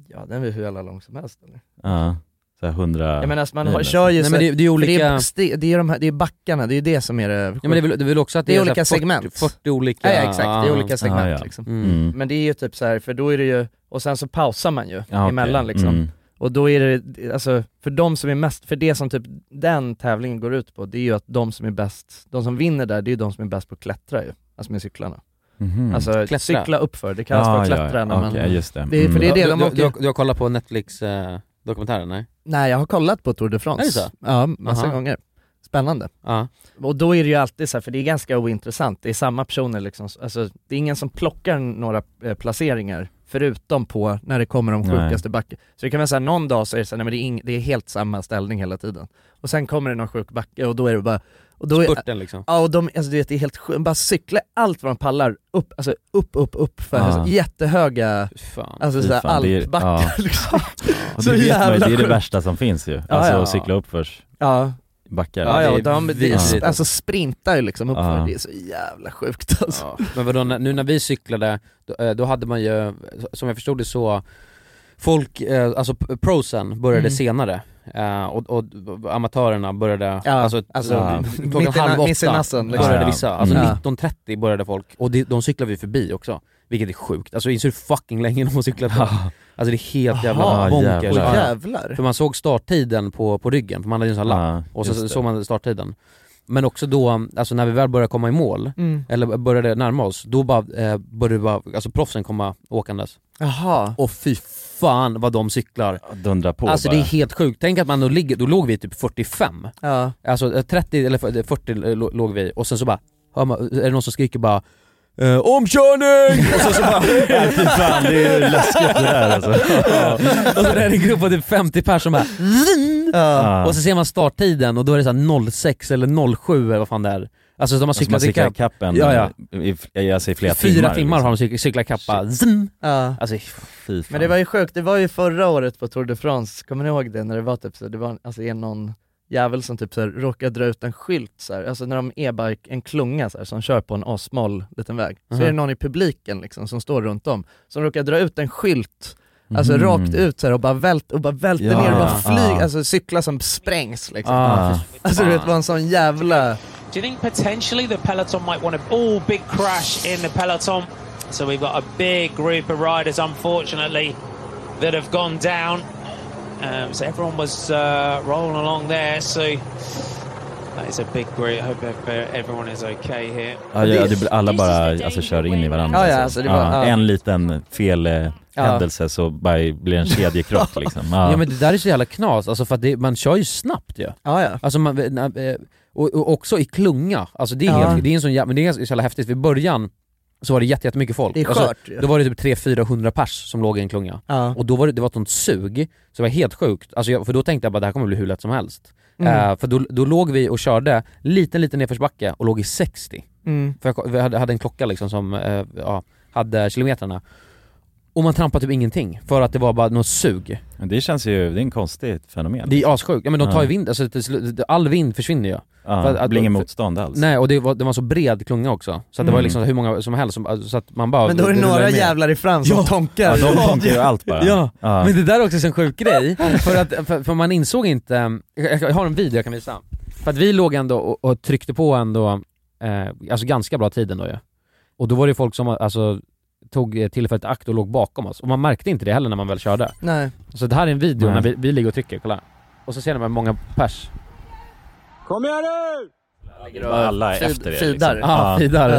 Ja den är hur jävla lång som helst eller? Ja, såhär hundra... Jag menar alltså man Nej, har, men- kör ju Nej så men det, det är för det, olika... är, ste- det är de här, det är backarna, det är ju det som är det Ja, men det, är väl, det är väl också att det, Det är så här olika 40 segment. 40 olika... Ja, ja exakt, det är olika segment Ah, ja. liksom. Mm. Mm. Men det är ju typ så här, för då är det ju, och sen så pausar man ju Ja, Ah, okej. emellan liksom. Mm. Och då är det, alltså för de som är mest, för det som typ den tävlingen går ut på, det är ju att de som är bäst, de som vinner där, det är ju de som är bäst på att klättra ju. Alltså med cyklarna. Mhm. Alltså Klättra. cykla uppför, det kallas för att Ah, Ja, klättra ja, när man... okej, just det. Mm. Det är- för det är det- Du, de du, åker- du, har- du har kollat på Netflix eh, dokumentären, nej? Nej jag har kollat på Tour de France. Är det så? Ja, massa Aha. gånger. Spännande. Ja. Och då är det ju alltid så här, för det är ganska ointressant, det är samma personer liksom, alltså det är ingen som plockar några eh, placeringar förutom på när det kommer de Nej. sjukaste backe. Så det kan vara såhär, någon dag så är det såhär, nej men det är, ing- det är helt samma ställning hela tiden. Och sen kommer det någon sjuk backe och då är det bara, och då är, Spurten liksom. ja och de, alltså du vet det är helt sjukt, bara cykla allt vad de pallar, upp, alltså upp, upp, upp för Ja. alltså, jättehöga, Fy Fan. alltså Fy såhär fan, det är- alpbackar liksom. Och så det, vet man, ju, jävla det är det sjukt. värsta som finns ju, alltså ja. att cykla uppförs, Ja, backar. Ja, ja, ja det och är de, det vidrigt. är, alltså sprintar ju liksom uppför, Ja. det är så jävla sjukt alltså. Ja. Men vadå, när- nu när vi cyklade, då, eh, då hade man ju, som jag förstod det så, folk, eh, alltså p- prosen började Mm. senare. eh, och, och amatörerna började, Ja, alltså, alltså, ja. mitt klockan i na- halv mitt i åtta natten, liksom. började Ja. vissa, alltså Mm. 19.30 började folk, och de, de cyklar vi förbi också, vilket är sjukt. Alltså inser hur fucking länge de har cyklat på? Alltså det är helt jävla Aha, bonkers. jävlar. Åh Ja. jävlar. För man såg starttiden på, på ryggen, för man hade ju en sån här lapp, Ja, och just så det. såg man starttiden. Men också då, alltså när vi väl började komma i mål, Mm. eller började närma oss, då bara, eh, började bara, alltså proffsen komma åkandes. Jaha. Och fy fan vad de cyklar! Dundra på alltså bara. det är helt sjukt, tänk att man då ligger, då låg vi typ 45, Ja. alltså eh, 30 eller 40 40 lå- låg vi, och sen så bara, hör man, är det någon som skriker bara eh, omkörning! Och så, så bara, Nej, fy fan, det är läskigt det där alltså. och så är det en grupp på typ 50 personer som bara "Vinn!" Ja. Och så ser man starttiden och då är det så här 06 eller 07 eller vad fan det är. Alltså de har Alltså, man cyklat cyklar ikapp, kappen Ja, ja. I, i, alltså, i flera fyra timmar. liksom. timmar, har de cyklat, cyklat kapp, bara zzzm. ja. Alltså Fy fan. Men det var ju sjukt, det var ju förra året på Tour de France, kommer ni ihåg det? När det var typ så, det var alltså, en någon jävel som typ så här, råkade dra ut en skylt så här. alltså när de e-bike, en klunga så här, som kör på en assmal liten väg. Mhm. Så är det någon i publiken liksom som står runt om, som råkar dra ut en skylt Alltså rakt ut så här, och bara vält, och bara välter Mhm. Ja, ner och bara ja, flyger, ja. alltså cyklar som sprängs liksom. Ah. Alltså du vet, det var en sån jävla... Do you think potentially the peloton might want to? Oh, big crash in the peloton. So we've got a big group of riders, unfortunately, that have gone down. Um, so everyone was uh, rolling along there. So that is a big group. I hope ev- everyone is okay here. Ja, ja, det, alla bara alltså, kör in i varandra. Ja, ja, alltså, det var- ja. En liten fel eh, Ja. händelse så bara blir det en kedjekrock liksom. Ja. men det där är så jävla knas, alltså för att det, man kör ju snabbt ju. Ja. Alltså man, eh, och, och också i klunga, alltså det är, Ja. helt, det är en sån jävla, men det är ganska så jävla häftigt, vid början så var det jätte, jättemycket folk. Det är alltså, skört ju. då var det typ 300-400 pers som låg i en klunga. Ja. Och då var det, det var ett sånt sug, så det var helt sjukt. Alltså jag, för då tänkte jag bara det här kommer bli hur lätt som helst. Mm. Äh. Eh, för då, då låg vi och körde, liten liten nedförsbacke och låg i 60. Mm. För jag, ko- vi hade, hade en klocka liksom som eh, ja, hade kilometrarna. Och man trampade typ ingenting, för att det var bara något sug. Men det känns ju, det är en konstigt fenomen. Det är assjukt, ja men de tar ju Ja. vind, alltså, till slut- all vind försvinner ju. Ja, För det blir ingen motstånd alls. Nej, och det var, det var så bred klunga också. Så att det var Mm. liksom hur många som helst, som, alltså, så att man bara... Men då är det rullar några med. jävlar i fram som Ja. tonkar. Ja, de tonkar ju allt bara. Ja, Ja. men det där är också en sån sjuk grej, för att för, för man insåg inte, eh, jag, jag har en video jag kan visa. För att vi låg ändå och, och tryckte på ändå, eh, alltså ganska bra tid ändå ju. Och då var det folk som alltså, tog eh, tillfället i akt och låg bakom oss, och man märkte inte det heller när man väl körde. Nej. Så det här är en video Nej. när vi, vi ligger och trycker, kolla. Och så ser ni hur många pers. Kom igen nu! Alla är Fid- efter det fidar. Liksom. Ja, fidar.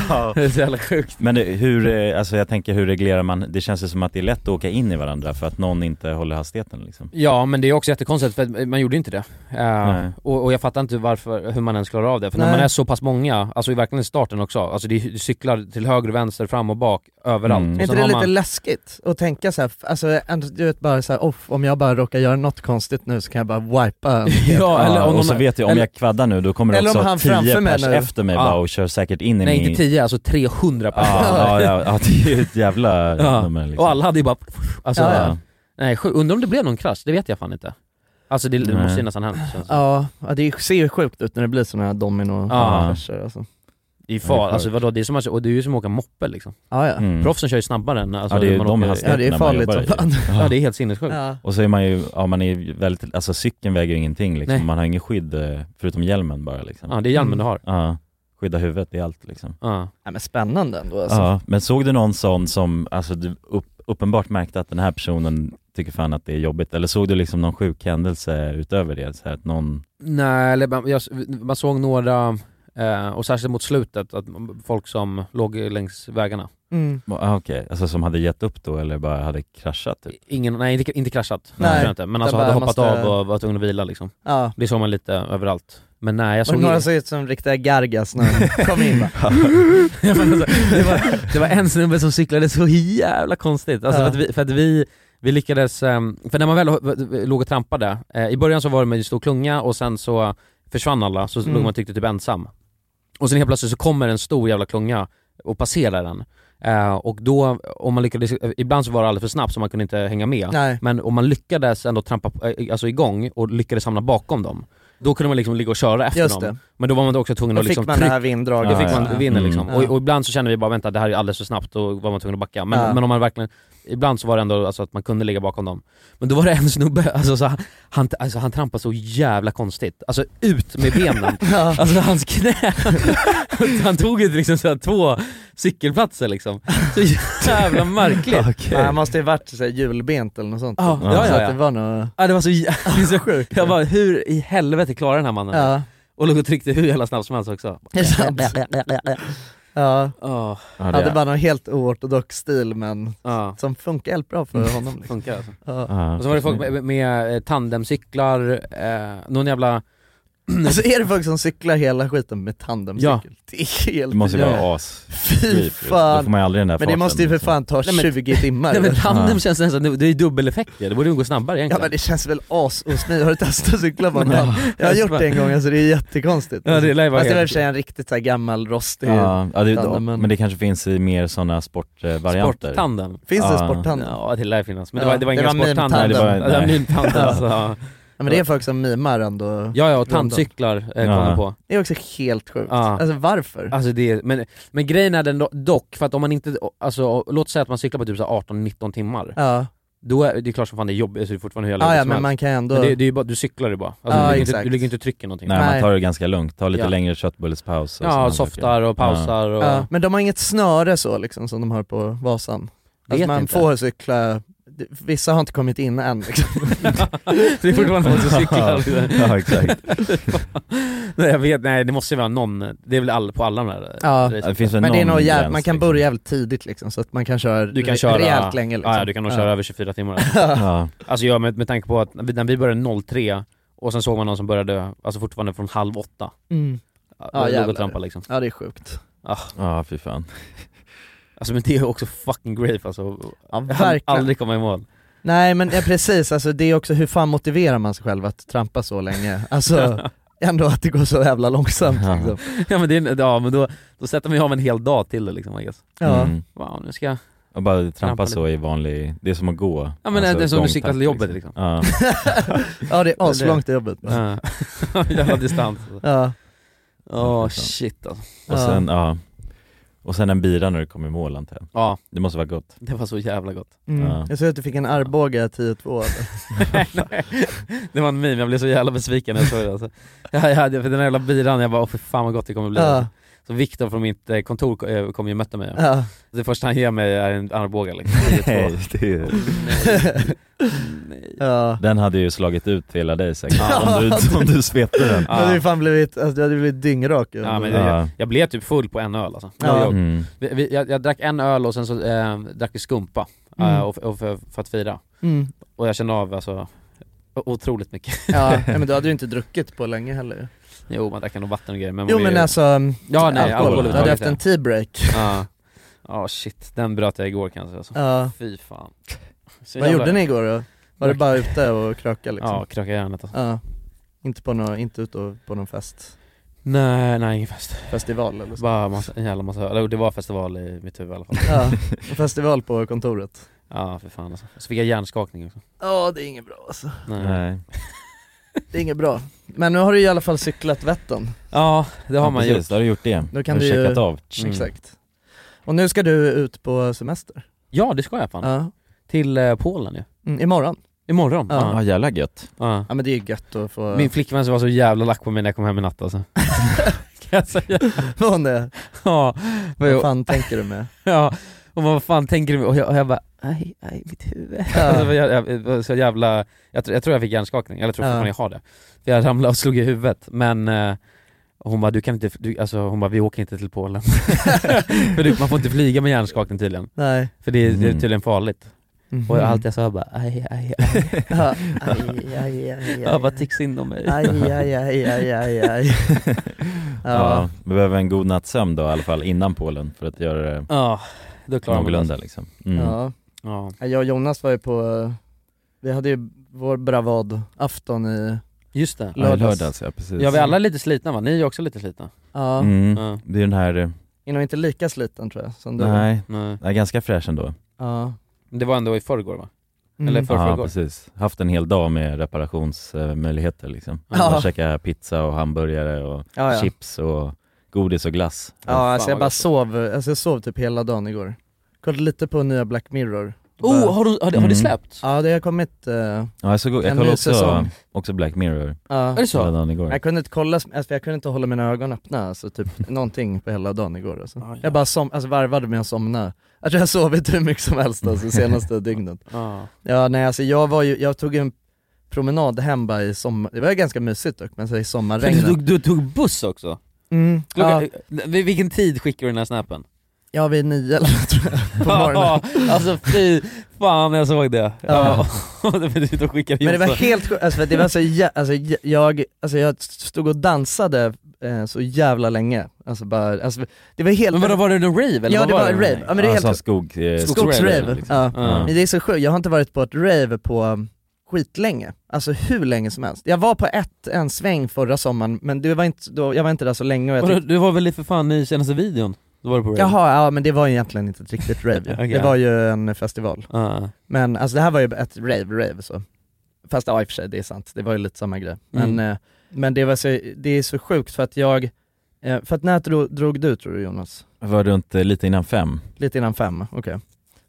Ja. Det är så jävla sjukt. Men hur, eh, alltså jag tänker hur reglerar man, det känns ju som att det är lätt att åka in i varandra för att någon inte håller hastigheten liksom. Ja men det är också jättekonstigt för att man gjorde ju inte det. Eh, Nej. och, och jag fattar inte varför, hur man ens klarar av det. För när Nej. man är så pass många, alltså i verkligen i starten också, alltså det är ju cyklar till höger och vänster, fram och bak, överallt. Mm. Och Är inte sen det har lite man- läskigt att tänka så här, f- alltså ändå- du vet bara så här, "Off, om jag bara råkar göra något konstigt nu så kan jag bara wipa en hel-" Ja, eller om och någon- så vet jag, om eller- jag kvaddar nu då kommer det Eller om också han tio framför mig pers nu. efter mig Ja. bara och kör säkert in i Nej min... inte 10, alltså 300 Ja, personer. ja, ja, ja, det är ju liksom- ett jävla Ja. nummer liksom. Och alla hade ju bara, alltså, Ja, ja. nej sjuk- undrar om det blev någon krasch, det vet jag fan inte. Alltså det, det Nej. måste ju nästan ha hänt känns det som. Ja, ja, det ser ju sjukt ut när det blir sådana här domino Ja. krascher, alltså. I Ja, det är far, sjukt. alltså vadå, det är som, att- och det är ju som att åka moppe liksom. Ja, ja. Mm. Proffsen kör ju snabbare än alltså, Ja, det är ju man de åker- hastigheterna ja det är man farligt jobbar som i. fan. Ja det är helt sinnessjukt. Ja. Och så är man ju, ja man är ju väldigt, alltså cykeln väger ju ingenting liksom, Nej. man har ingen skydd eh, förutom hjälmen bara liksom. Ja det är hjälmen du har. Ja. Skydda huvudet, det är allt liksom. Ja. ja men spännande ändå alltså. Ja, men såg du någon sån som, alltså du upp, uppenbart märkte att den här personen tycker fan att det är jobbigt, eller såg du liksom någon sjuk händelse utöver det? Så här, att någon, Nej, eller man, jag, man såg några, eh, och särskilt mot slutet, att folk som låg längs vägarna. Mm. ah, okej, alltså som hade gett upp då eller bara hade kraschat typ? Ingen, nej, inte, inte kraschat, Nej. tror jag inte. men alltså Den hade bara hoppat måste- av och var tvungen att vila liksom. Ja. Det såg man lite överallt. Men nej, jag Var såg det några ingen- som såg ut som riktiga gargas när de kom in va? Ja, men alltså, det, var, det var en snubbe som cyklade så jävla konstigt, alltså, Ja. för, att vi, för att vi, vi lyckades, ehm, för när man väl eh, låg och trampade, eh, i början så var det med en stor klunga och sen så försvann alla, så Mm. låg man tyckte typ ensam. Och sen helt plötsligt så kommer en stor jävla klunga och passerar den. Eh, och då, om man lyckades, eh, ibland så var det alldeles för snabbt så man kunde inte hänga med. Nej. Men om man lyckades ändå trampa eh, alltså igång och lyckades hamna bakom dem, då kunde man liksom ligga och köra efter Just dem. det. Men då var man då också tvungen Då att fick liksom man det här vinddraget. då fick Ja, man ja. vinna Mm. liksom. Ja. Och, och ibland så kände vi bara vänta det här är alldeles för snabbt och var man tvungen att backa. Men, Ja. men om man verkligen, ibland så var det ändå alltså, att man kunde ligga bakom dem. Men då var det en snubbe, alltså, så, han, alltså, han trampade så jävla konstigt. Alltså ut med benen. Ja. Alltså hans knä, han tog ju liksom så här, två cykelplatser liksom. Så jävla märkligt. Ja, Han måste ju varit så här, julbent eller något sånt. Ja, Så ja, ja, att det ja. var något... ja det var så, jä- det är så sjukt. Jag bara hur i helvete klarar den här mannen? Ja. Och låg och tryckte hur jävla snabbt som helst också. Det är sant. Ja. Oh, Ja, Ja, det var någon helt oortodox stil men ja. som funkar helt bra för honom. Liksom. Funkar alltså. Ja. ja. Och så var det folk med, med eh, tandemcyklar, eh, någon jävla... Alltså är det folk som cyklar hela skiten med tandemcykel? Det är helt Det måste ju jävla- vara as Fy Då får fan. man ju aldrig den där Men det farten, måste ju för liksom. fan ta Nej, men- 20 timmar. Nej men tandem Ja. känns nästan, det är ju dubbeleffekt ju. det borde ju gå snabbare Ja egentligen. men det känns väl asosmidigt, har du testat att cykla på en tand? Jag har gjort det en gång alltså det är jättekonstigt. Ja, det lär ju vara Fast det var i och helt- för sig en riktigt så här gammal rostig, Ja, ja det, Utan- men det kanske finns i mer sådana sportvarianter Sporttandem. finns det Ja. sporttand? Ja. Ja det lär finnas, men det Ja, var, det var det ingen var sporttandem. meme-tandem. det var, det var Nej. meme-tandem alltså. Ja. men det är folk som mimar ändå. Ja ja, och tandcyklar eh, kom Ja. de på. Det är också helt sjukt. Ja. Alltså varför? Alltså det, är- men, men grejen är den do- dock, för att om man inte, alltså låt säga att man cyklar på typ så här 18-19 timmar, Ja, då är det är klart som fan det är jobbigt, så det är fortfarande hur jävla ja, Ah, ja jobbigt som men helst. man kan ändå... men det, det är ju bara, du cyklar ju bara. Alltså, Ja, du, ligger inte, exakt. du ligger inte och trycker någonting. Nej, Nej. man tar det ganska lugnt, tar lite Ja. längre köttbullespaus och Ja, sådana softar och saker. pausar och... ja. Men de har inget snöre så liksom som de har på Vasan. Alltså Vet man inte. får cykla det- vissa har inte kommit in än liksom. Det är fortfarande någon som cyklar. Ja, exakt. nej jag vet, nej det måste ju vara någon, det är väl all, på alla de där Ja. racen. Det finns väl Men det är någon nog jävligt, gräns, man kan liksom. börja jävligt tidigt liksom, så att man kan köra, Du kan re- köra, rejält länge liksom. ja, du kan nog köra över 24 timmar alltså. Ja. Alltså jag med, med tanke på att vi- när vi började 03 och sen såg man någon som började alltså fortfarande från halv åtta. Mm. Ja, Ja, låg jävlar. och trampade liksom. Ja det är sjukt. Ah, ja, fy fan. alltså men det är också fucking grave alltså. Ja Jag hann verkligen. aldrig komma i mål. Nej men ja, precis, alltså det är också hur fan motiverar man sig själv att trampa så länge? Alltså ändå att det går så jävla långsamt Ja. liksom. ja men, det är, ja, men då, då sätter man ju av en hel dag till det liksom I guess. Ja. Mm. Wow, nu ska jag... Och bara Trampa trampa så i vanlig, det är som att gå. Alltså, Ja men det är som du gångtakt, cyklar till jobbet Alltså, liksom. Ja. ja det är aslångt till jobbet. Ja. Jävla distans alltså. Ja. Åh shit alltså. Och Ja. sen, ja. Och sen en bira när du kommer i mål antar jag. Ja, Det måste vara gott. det var så jävla gott. Mm. Ja. Jag såg att du fick en Arboga 10-2 det var en meme, jag blev så jävla besviken när jag såg det alltså. jag hade, För den här jävla biran, jag bara åh för fan vad gott det kommer bli ja. alltså. Så Viktor från mitt eh, kontor ko- eh, kom ju och mötte mig ja. Det första han ger mig är en armbåge liksom. Det är två. det är... Nej. ja. Den hade ju slagit ut hela dig säkert, Ja. om, du, om du svepte den. Du hade ju fan blivit, alltså, du hade blivit dyngrak ju. Ja, men det, Ja. Jag blev typ full på en öl alltså. Ja. Jag, Mm. vi, vi- jag, jag drack en öl och sen så eh, drack vi skumpa, eh, Mm. och, och för, för att fira. Mm. Och jag kände av alltså o- otroligt mycket. ja. Nej, men du hade ju inte druckit på länge heller ju. Jo man drack nog vatten och grejer men Jo man är men ju- alltså, Ja nej, alkohol du hade haft en överhuvudtaget, tea break. Ja, Ja, shit, den bröt jag igår kanske alltså. Ja. Fy fan. Så Vad jävla- gjorde ni igår då? Var det Drack. bara ute och kröka liksom? Ja, kröka järnet alltså. Ja. Inte på någon, inte ute och- på någon fest, Nej, nej ingen fest. festival eller så? Bara massa, en jävla massa, eller det var festival i mitt huvud i alla fall. Ja, en festival på kontoret. Ja för fan alltså. Så fick jag hjärnskakning också. Ja det är inget bra alltså. Nej. Nej. Det är inget bra. Men nu har du i alla fall cyklat Vättern. Ja, det har Ja, man precis, gjort. Då har du gjort det. Då kan har du ju- checkat av. Mm. Exakt. Och nu ska du ut på semester. Ja det ska jag fan. Ja. Till eh, Polen ju. Mm, imorgon. Imorgon. Ja. Ja. Ja, jävla gött. Ja. Ja men det är ju gött att få... Min flickvän så var så jävla lack på mig när jag kom hem i natt alltså. kan jag säga. Vad hon är. Ja. Vad Vad jag- fan tänker du med? Ja. Och vad fan tänker du? med- Och jag, och jag bara, aj, aj mitt huvud. Ja. Alltså, för jag, jag, jag, så jävla, jag, tror- jag tror jag fick hjärnskakning, eller jag tror Ja. fortfarande jag har det. För jag ramlade och slog i huvudet, men eh, hon bara, du kan inte, du, alltså hon bara, vi åker inte till Polen. för du, man får inte flyga med hjärnskakning tydligen, Nej. för det är, det är Mm. tydligen farligt. Mm. Mhm. Och allt jag sa bara, aj, aj, aj. Ja. Aj, aj, aj, aj, Jag bara, tyck synd om mig. aj, aj, aj, aj, aj, aj. Ja. Ja. Vi behöver en god natts sömn då i alla fall innan Polen för att göra det Ja, då klarar man någorlunda det. liksom. Mm. ja. Ja. Jag och Jonas var ju på, vi hade ju vår bravadafton i, Just det. Ja, i lördags. lördags ja, precis. Ja vi är alla lite slitna va? Ni är ju också lite slitna. ja, Mm. Ja. Det är den här, eh, är nog inte lika sliten tror jag som du. nej, Nej. den är ganska fräsch ändå. Ja. Det var ändå i förrgår va? Mm. Eller för- Ja förrgår. precis, haft en hel dag med reparationsmöjligheter liksom. Ja. Bara käka pizza och hamburgare och ja, ja. chips och godis och glass. Ja, Fan, alltså jag vad bara gott. sov, alltså jag sov typ hela dagen igår. Kollade lite på nya Black Mirror. Oh, har, du, har, det- har det Mm. släppts? Ja det har kommit, eh, ja Ja, jag, såg, jag En kollade ny också, säsong. också Black Mirror Är det hela så? dagen igår. Jag kunde inte kolla, alltså jag kunde inte hålla mina ögon öppna, alltså typ någonting på hela dagen igår alltså. Ah, ja. Jag bara som, alltså varvade med att somna. Alltså, Jag tror jag har sovit hur mycket som helst alltså senaste dygnet. Ja. Ja nej alltså jag var ju, jag tog en promenad hem bara i sommar, det var ju ganska mysigt dock, men så i Du, sommarregnet. tog- du tog buss också? Mm, Klockan, ja, Vil- Vilken tid skickade du den här snappen? jag var vid nio eller något, tror jag, på morgonen. Ja, alltså fy fan jag såg det. Ja. Ja. Du och skickade Men det var Jonsson. helt sjukt, alltså, det var så jä- alltså, j- jag, alltså jag stod och dansade eh, så jävla länge, alltså bara, alltså, det var helt Men vadå, var det en rave eller Ja vad det var det? rave, ja men det är helt alltså, skog, eh, Skogsrave. Skogsrave, liksom. ja. Ja. Men det är så sjukt, jag har inte varit på ett rave på um, skitlänge, alltså hur länge som helst. Jag var på ett, en sväng förra sommaren, men det var inte, då, jag var inte där så länge och jag Vadå, tyckte, Du var väl i för fan i senaste videon? Då var du på rave? jaha, ja men det var ju egentligen inte ett riktigt rave ju. Okej. Det var ju en festival. Ja. Men alltså det här var ju ett rave-rave så. Fast ja i och för sig, det är sant, det var ju lite samma grej. Men, Mm. eh, men det, var så, det är så sjukt för att jag, eh, för att när drog, drog du tror du Jonas? Var runt eh, lite innan fem. Lite innan fem, okej.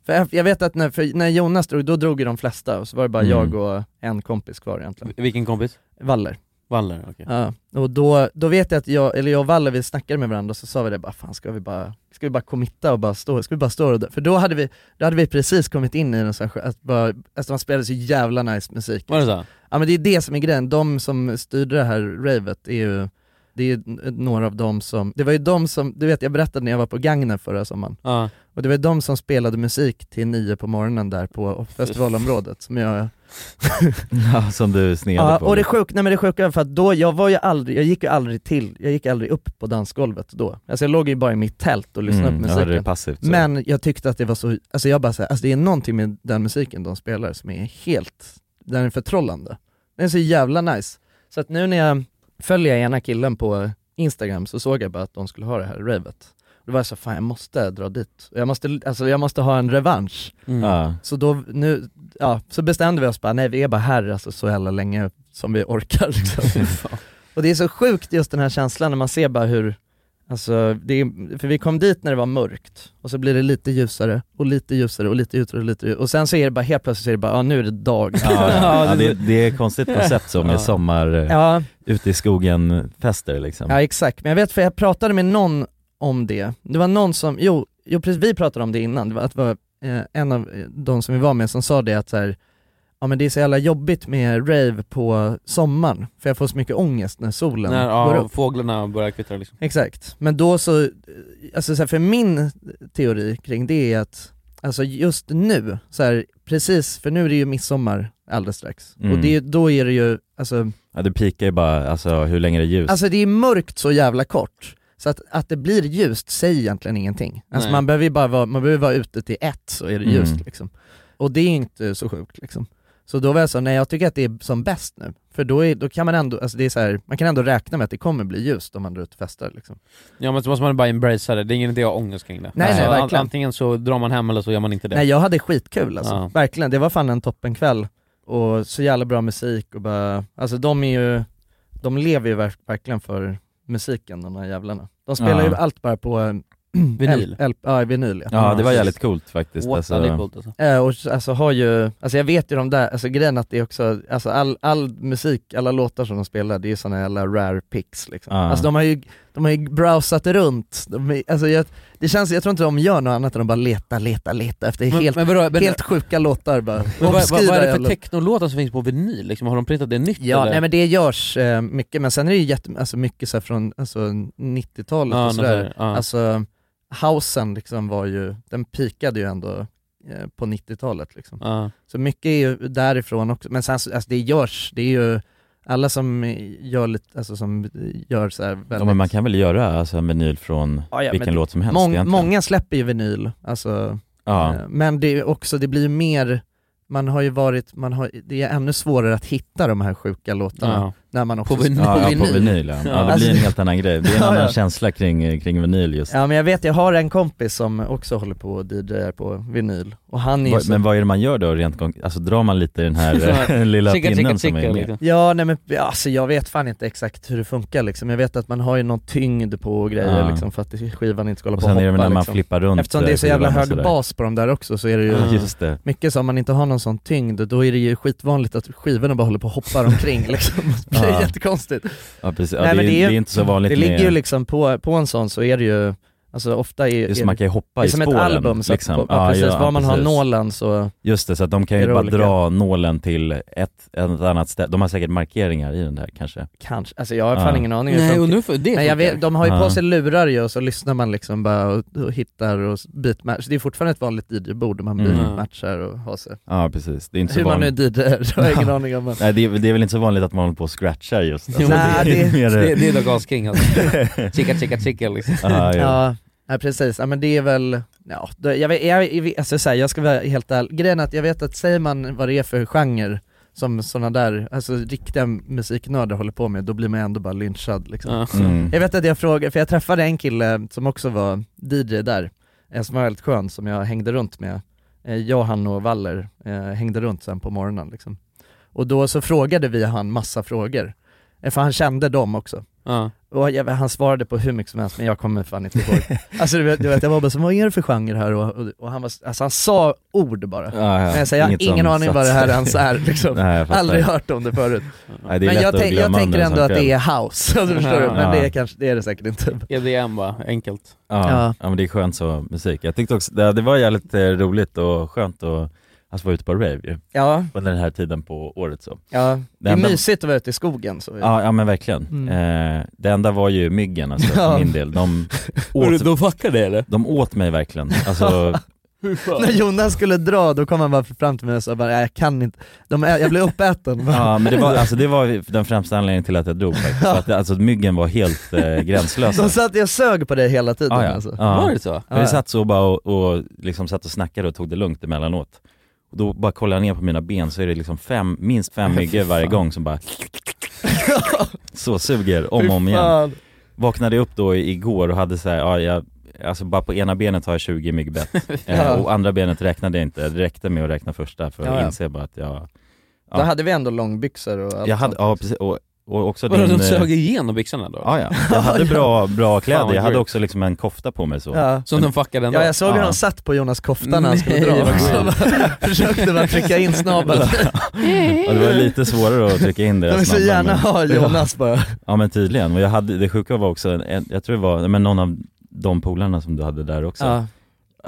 För jag, jag vet att när, för när Jonas drog, då drog ju de flesta och så var det bara Mm. jag och en kompis kvar egentligen. Vilken kompis? Waller. Waller, okej. Ja, och då, då vet jag att jag, eller jag och Valle vi snackade med varandra och så sa vi det bara, fan ska vi bara, ska vi bara committa och bara stå, ska vi bara stå och dö? För då hade vi, då hade vi precis kommit in i någon sån här, att bara, alltså man spelade så jävla nice musik Var det så? Ja men det är det som är grejen, de som styrde det här ravet är ju, det är ju några av dem som, det var ju de som, du vet jag berättade när jag var på Gagnen förra sommaren, Ja. och det var ju de som spelade musik till nio på morgonen där på festivalområdet som jag Ja, som du sneade Ja, på. och det sjuka, nej men det sjuka var för att då, jag var ju aldrig, jag gick ju aldrig till, jag gick aldrig upp på dansgolvet då. Alltså jag låg ju bara i mitt tält och lyssnade Mm, på jag hörde musiken. det passivt, så. men jag tyckte att det var så, alltså jag bara såhär, alltså det är någonting med den musiken de spelar som är helt, den är förtrollande. Den är så jävla nice. Så att nu när jag följer ena killen på Instagram så såg jag bara att de skulle ha det här ravet. Och Då var jag så fan jag måste dra dit. Jag måste, alltså jag måste ha en revansch. Mm. Ja. Så då, nu, ja, så bestämde vi oss bara, nej vi är bara här alltså, så jävla länge som vi orkar liksom. Och det är så sjukt just den här känslan när man ser bara hur, alltså, det är, för vi kom dit när det var mörkt, och så blir det lite ljusare, och lite ljusare, och lite ljusare, och lite ljusare. Och sen så är det bara helt plötsligt så är det bara, ja nu är det dag. Ja, ja. ja, det, det är ett konstigt koncept så med Ja. sommar, eh, Ja. ute i skogen fester liksom. Ja exakt, men jag vet för jag pratade med någon om det, det var någon som, jo, jo precis, vi pratade om det innan, det var, att det var eh, en av eh, de som vi var med som sa det att så här, ja men det är så jävla jobbigt med rave på sommaren, för jag får så mycket ångest när solen När går ja, upp. fåglarna börjar kvittra liksom. Exakt, men då så, eh, alltså så här, för min teori kring det är att, alltså just nu, så här, precis, för nu är det ju midsommar alldeles strax, och Mm. det, då är det ju, alltså Ja, det pikar ju bara, alltså hur länge det är ljust. Alltså det är mörkt så jävla kort, så att, att det blir ljust säger egentligen ingenting. Alltså Nej. man behöver ju bara vara, man behöver vara ute till ett så är det Mm. ljust liksom. Och det är inte så sjukt liksom. Så då var jag så, nej jag tycker att det är som bäst nu. För då, är, då kan man ändå, alltså det är så här, man kan ändå räkna med att det kommer bli ljust om man drar ut och festar liksom. Ja men så måste man bara embracea det, det är ingen idé att ha ångest kring det. Nej, Alltså, nej, an- verkligen. Antingen så drar man hem eller så gör man inte det. Nej jag hade skitkul alltså, Ja. verkligen. Det var fan en toppenkväll. Och så jävla bra musik och bara, alltså de är ju, de lever ju verk- verkligen för musiken de här jävlarna. De spelar Ja. ju allt bara på eh, Vinyl. L, L, ja, vinyl ja. Ja, det var jävligt coolt faktiskt. What? Ja, det är coolt, alltså. Eh, och så- alltså har ju, alltså jag vet ju de där, alltså grejen att det är också, alltså all, all musik, alla låtar som de spelar, det är ju sådana jävla rare picks liksom. Ja. Alltså de har ju, de har ju browsat runt, de är, alltså jag, det känns, jag tror inte de gör något annat än att bara leta, leta, leta efter Men- helt, men vadå, men- helt sjuka låtar bara. Men vad, vad, Obskyra vad är det för jävla- technolåtar som finns på vinyl liksom? Har de printat det nytt Ja, eller? nej men det görs eh, mycket, men sen är det ju jätte, alltså mycket så här från alltså, 90-talet Ja, och sådär. något sådär, ja. Alltså, housen liksom var ju, den pikade ju ändå eh, på 90-talet liksom. Ja. Så mycket är ju därifrån också, men sen så- alltså, det görs, det är ju alla som gör lite, alltså som gör så här väldigt... Ja, men man kan väl göra alltså, en vinyl från Ja, ja, vilken men låt som helst mång- egentligen. Många släpper ju vinyl, alltså, Ja. eh, men det är ju också, det blir ju mer, man har ju varit, man har, det är ännu svårare att hitta de här sjuka låtarna Ja. när man också På vinyl. Ja, ja, på vinyl, ja. Ja, det blir en helt annan grej. Det är en annan känsla kring, kring vinyl just. Alltså- Ja men jag vet, jag har en kompis som också håller på och DJar på vinyl, och han är ju Vad- så- Men vad är det man gör då rent konkret? Alltså drar man lite i den här eh, lilla Chicka, chicka, pinnen som chicka, är med? liksom. Ja, nej men ja, alltså, jag vet fan inte exakt hur det funkar liksom. Jag vet att man har ju någon tyngd på grejer Ja. liksom, för att skivan inte ska hålla Och på och sen är hoppa det väl när man liksom. flippar runt, Eftersom det är så eh, jävla skivan och hög sådär. bas på de där också så är det ju Ja, just det. mycket så om man inte har någon sån tyngd, då är det ju skitvanligt att skivorna bara håller på och hoppar omkring liksom. Det blir Ja. jättekonstigt. Ja, precis. Ja, det är- det är inte så vanligt Det med- ligger ju liksom på, på en sån så är det ju Alltså ofta är, Just är man kan ju hoppa det är i som ett spåren, album, så liksom. att, ja, Ja, precis, ja, var man har precis. nålen så Just det, så att de kan Är ju det bara olika? dra nålen till ett, ett annat ställe. De har säkert markeringar i den där kanske. Kanske, alltså jag har fan Ja. ingen aning hur funkar. Men jag vet, de har ju på sig lurar ju och så lyssnar man liksom bara och, och hittar och beatmatch. Det är fortfarande ett vanligt DJ-bord där man Mm. beatmatchar och har sig. Ja precis, det är inte så Hur man nu vanligt. DJar, jag har ingen aning om. Nej det är, det är väl inte så vanligt att man håller på och scratchar just alltså, Nej, det- det, det är dock askring alltså. chicka chicka chicka liksom. Ja, ja. Ja, ja precis. Ja, men det är väl, ja, då- jag, vet, jag, jag- alltså, så här, jag ska vara helt ärlig, grejen är att jag vet att säger man vad det är för genre som sådana där, alltså riktiga musiknördar håller på med, då blir man ändå bara lynchad liksom. Ja. Mm. Jag vet att jag frågade, för jag träffade en kille som också var DJ där, eh, som var väldigt skön, som jag hängde runt med. Eh, Jag, han och Waller eh, hängde runt sen på morgonen liksom. Och då så frågade vi han massa frågor, Eh, för han kände dem också. Ja. Och jag, han svarade på hur mycket som helst, men jag kommer fan inte ihåg. alltså du vet, du vet, jag var bara så, vad är det för genre här? Och, och, och han, var, alltså, han sa ord bara. Ah, Ja, ja. Men jag säger, jag har Inget ingen som aning vad det satt här sig. ens är liksom. Nej, jag fattar. Aldrig hört om det förut. Nej, det men är lätt jag, att tänk- jag glömma tänker under en ändå sån att det är kväll. house, alltså, förstår du? Men Ja. det är, kanske, det är det säkert inte. EDM E va, enkelt. Ja, Ja. ja. men det är skönt så musik. Jag tyckte också, det, det var jävligt eh, roligt och skönt att alltså, vara ute på rave ju. Ja. Under den här tiden på året så. Ja, det är enda- mysigt att vara ute i skogen. Så. Ja, ja men verkligen. Mm. Eh, det enda var ju myggen alltså, Ja. för min del. De Hörru, åt, de fuckade eller? de åt mig verkligen. Alltså, När Jonas skulle dra, då kom han bara fram till mig och sa bara, "Nej, jag kan inte, De är, jag blev uppäten. ja, men det, var, alltså, det var den främsta anledningen till att jag drog faktiskt. För att, alltså, myggen var helt eh, gränslösa. De satt och sög på dig hela tiden Ah, Ja, ja. alltså. Ja. Var det så? Men vi satt så bara och, och liksom satt och snackade och tog det lugnt emellanåt. Och då bara kollade jag ner på mina ben så är det liksom fem, minst fem Fy myggor varje fan. gång som bara så suger om och om igen. Fan. Vaknade upp då i- igår och hade så här, ja, jag, alltså bara på ena benet har jag 20 myggbett eh, och andra benet räknade jag inte. Det räckte med att räkna första för att Ja, ja. inse bara att jag, Då hade vi ändå långbyxor och allt jag hade, sånt. ja precis, och, och också Vadå, din... de sög eh, igenom byxorna då? Ja, ja. Jag hade Ja. bra, bra kläder, vad jag hade sjukt. också liksom en kofta på mig så. Ja. Som de fuckade ändå? Ja jag såg hur Ja. han satt på Jonas kofta när han skulle Nej, dra vad också. Försökte bara trycka in snabeln. Ja, det var lite svårare att trycka in det. De vill så snabbt, gärna men- ha Jonas bara. Ja men tydligen, och jag hade, det sjuka var också, en- en, jag tror det var men någon av de polarna som du hade där också, Ja,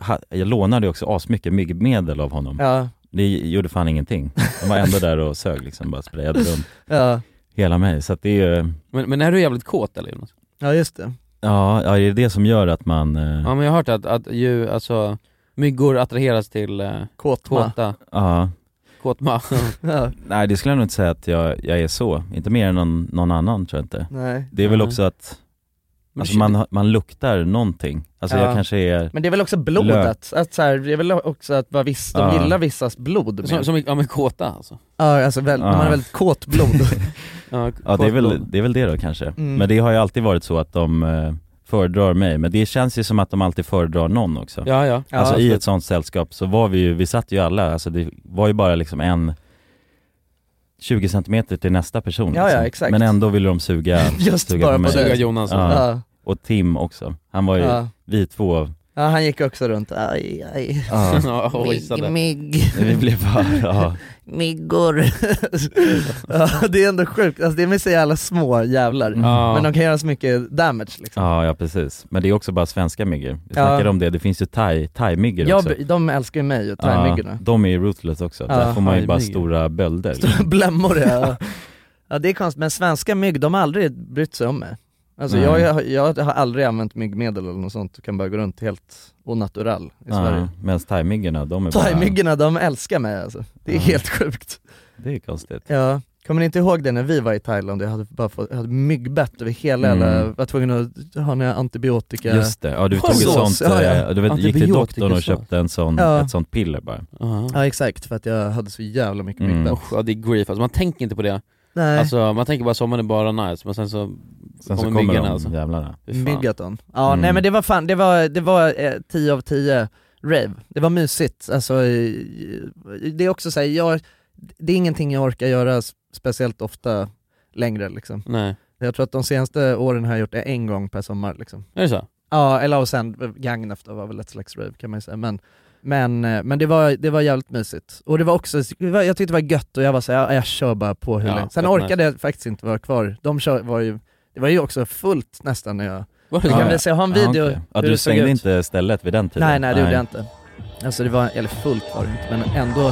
ha, jag lånade ju också asmycket myggmedel av honom. ja, Det gjorde fan ingenting. De var ändå där och sög liksom, bara sprayade runt ja, hela mig. Så att det är ju, Men, men är du jävligt kåt eller Jonas? ja just det. ja, ja det är det som gör att man, eh, Ja men jag har hört att, att ju, alltså, myggor attraheras till eh, Kåtma. kåta, ja. kåtma. Ja, Nej det skulle jag nog inte säga att jag, jag är så, inte mer än någon, någon annan tror jag inte. nej. Det är väl Nej. också att, Men alltså man, har- man luktar någonting. Alltså Ja. jag kanske är, Men det är väl också blodet, att så här, det är väl också att vad viss, de Ja. gillar vissas blod mer. som, som, ja men kåta alltså. Ja, alltså väl, när man har Ja. väldigt kåt blod. Ja, Ja det är, kåt väl, blod. det är väl det då kanske. Mm. Men det har ju alltid varit så att de eh, föredrar mig, men det känns ju som att de alltid föredrar någon också. Ja ja. alltså i absolut. ett sånt sällskap så var vi ju, vi satt ju alla, alltså det var ju bara liksom en 20 centimeter till nästa person Ja, ja, liksom. exakt. Men ändå ville de suga, Just suga bara på på mig. det. Suga Jonas. Ja. Ja. Och Tim också, han var ju, Ja. vi två, ja, han gick också runt, aj, aj. ja, Ja, och Mygg, hissade. mygg, vi blev bara, ja, myggor. ja, det är ändå sjukt, alltså, det är med så jävla små jävlar. Mm. Ja. Men de kan göra så mycket damage liksom. ja, ja precis. Men det är också bara svenska myggor. Vi Ja. snackade om det, det finns ju thai, thai-myggor Jag, också. de älskar ju mig och thai-myggorna. de är ju ruthless också, Ja, där får man ju bara thai-myggor. stora bölder. Stora Blämmor ja. ja det är konstigt, men svenska mygg, de har aldrig brytt sig om mig. Alltså Nej. jag, jag, jag har aldrig använt myggmedel eller något sånt och kan bara gå runt helt onatural i Sverige. Medan thaimyggorna, de är bara... Thai-myggorna, de älskar mig alltså. Det är Ja. helt sjukt. Det är konstigt. Ja, kommer ni inte ihåg det när vi var i Thailand? Jag hade bara fått, jag hade myggbett över hela Mm. jävla, var tvungen att ha några antibiotika Just det, ja du tog ett Sås, sånt, ja, ja. eh, du vet, gick till doktorn och Antibiotikasås. köpte en sån, Ja. ett sånt piller bara. Ja. Ja exakt, för att jag hade så jävla mycket Mm. myggbett Usch, ja det är grief alltså, man tänker inte på det. Nej, Alltså man tänker bara sommaren är bara nice, men sen så, Sen så Kommer kommer de myggorna alltså. jävlarna. fy fan. myggaton Ja Mm. nej men det var fan, det var, det var eh, 10 av 10 rave, det var mysigt, alltså eh, det är också såhär, jag, det är ingenting jag orkar göra s- speciellt ofta längre liksom Nej. Jag tror att de senaste åren har jag gjort det en gång per sommar liksom Är det så? Ja, eller och sen Gagnef då var väl ett slags rave kan man ju säga. Men, men, eh, men det, var, det var jävligt mysigt. Och det var också, det var, jag tyckte det var gött och jag var såhär, jag, jag kör bara på hur Ja, länge. Sen fett orkade jag faktiskt inte vara kvar. De kör, var ju, det var ju också fullt nästan när jag... Var Vi det så? kan ja. väl se, jag har en Ja, video okej. Ja, hur du det såg stängde ut. inte stället vid den tiden? Nej nej det gjorde jag inte. Alltså det var, eller fullt var det inte, men ändå.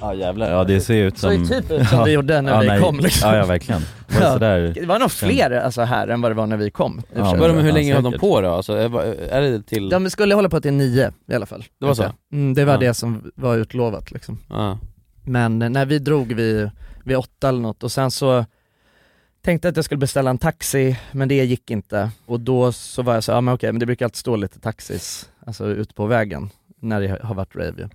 Ja jävlar, ja det ser ju ut Såg som... ju typ ut som det gjorde när vi kom, liksom. Ja, ja verkligen. Det var, Ja. sådär... Det var nog fler alltså, här än vad det var när vi kom. i och för sig. Vadå, men hur länge höll de på då? Alltså, är är det till... De skulle hålla på till nio i alla fall. Det var så? Mm, det var Ja. det som var utlovat liksom. Ja. Men eh, när vi drog vid, vid åtta eller något och sen så tänkte jag att jag skulle beställa en taxi, men det gick inte. Och då så var jag så här, ja men okej, men det brukar alltid stå lite taxis, alltså ute på vägen, när det har varit rave ju.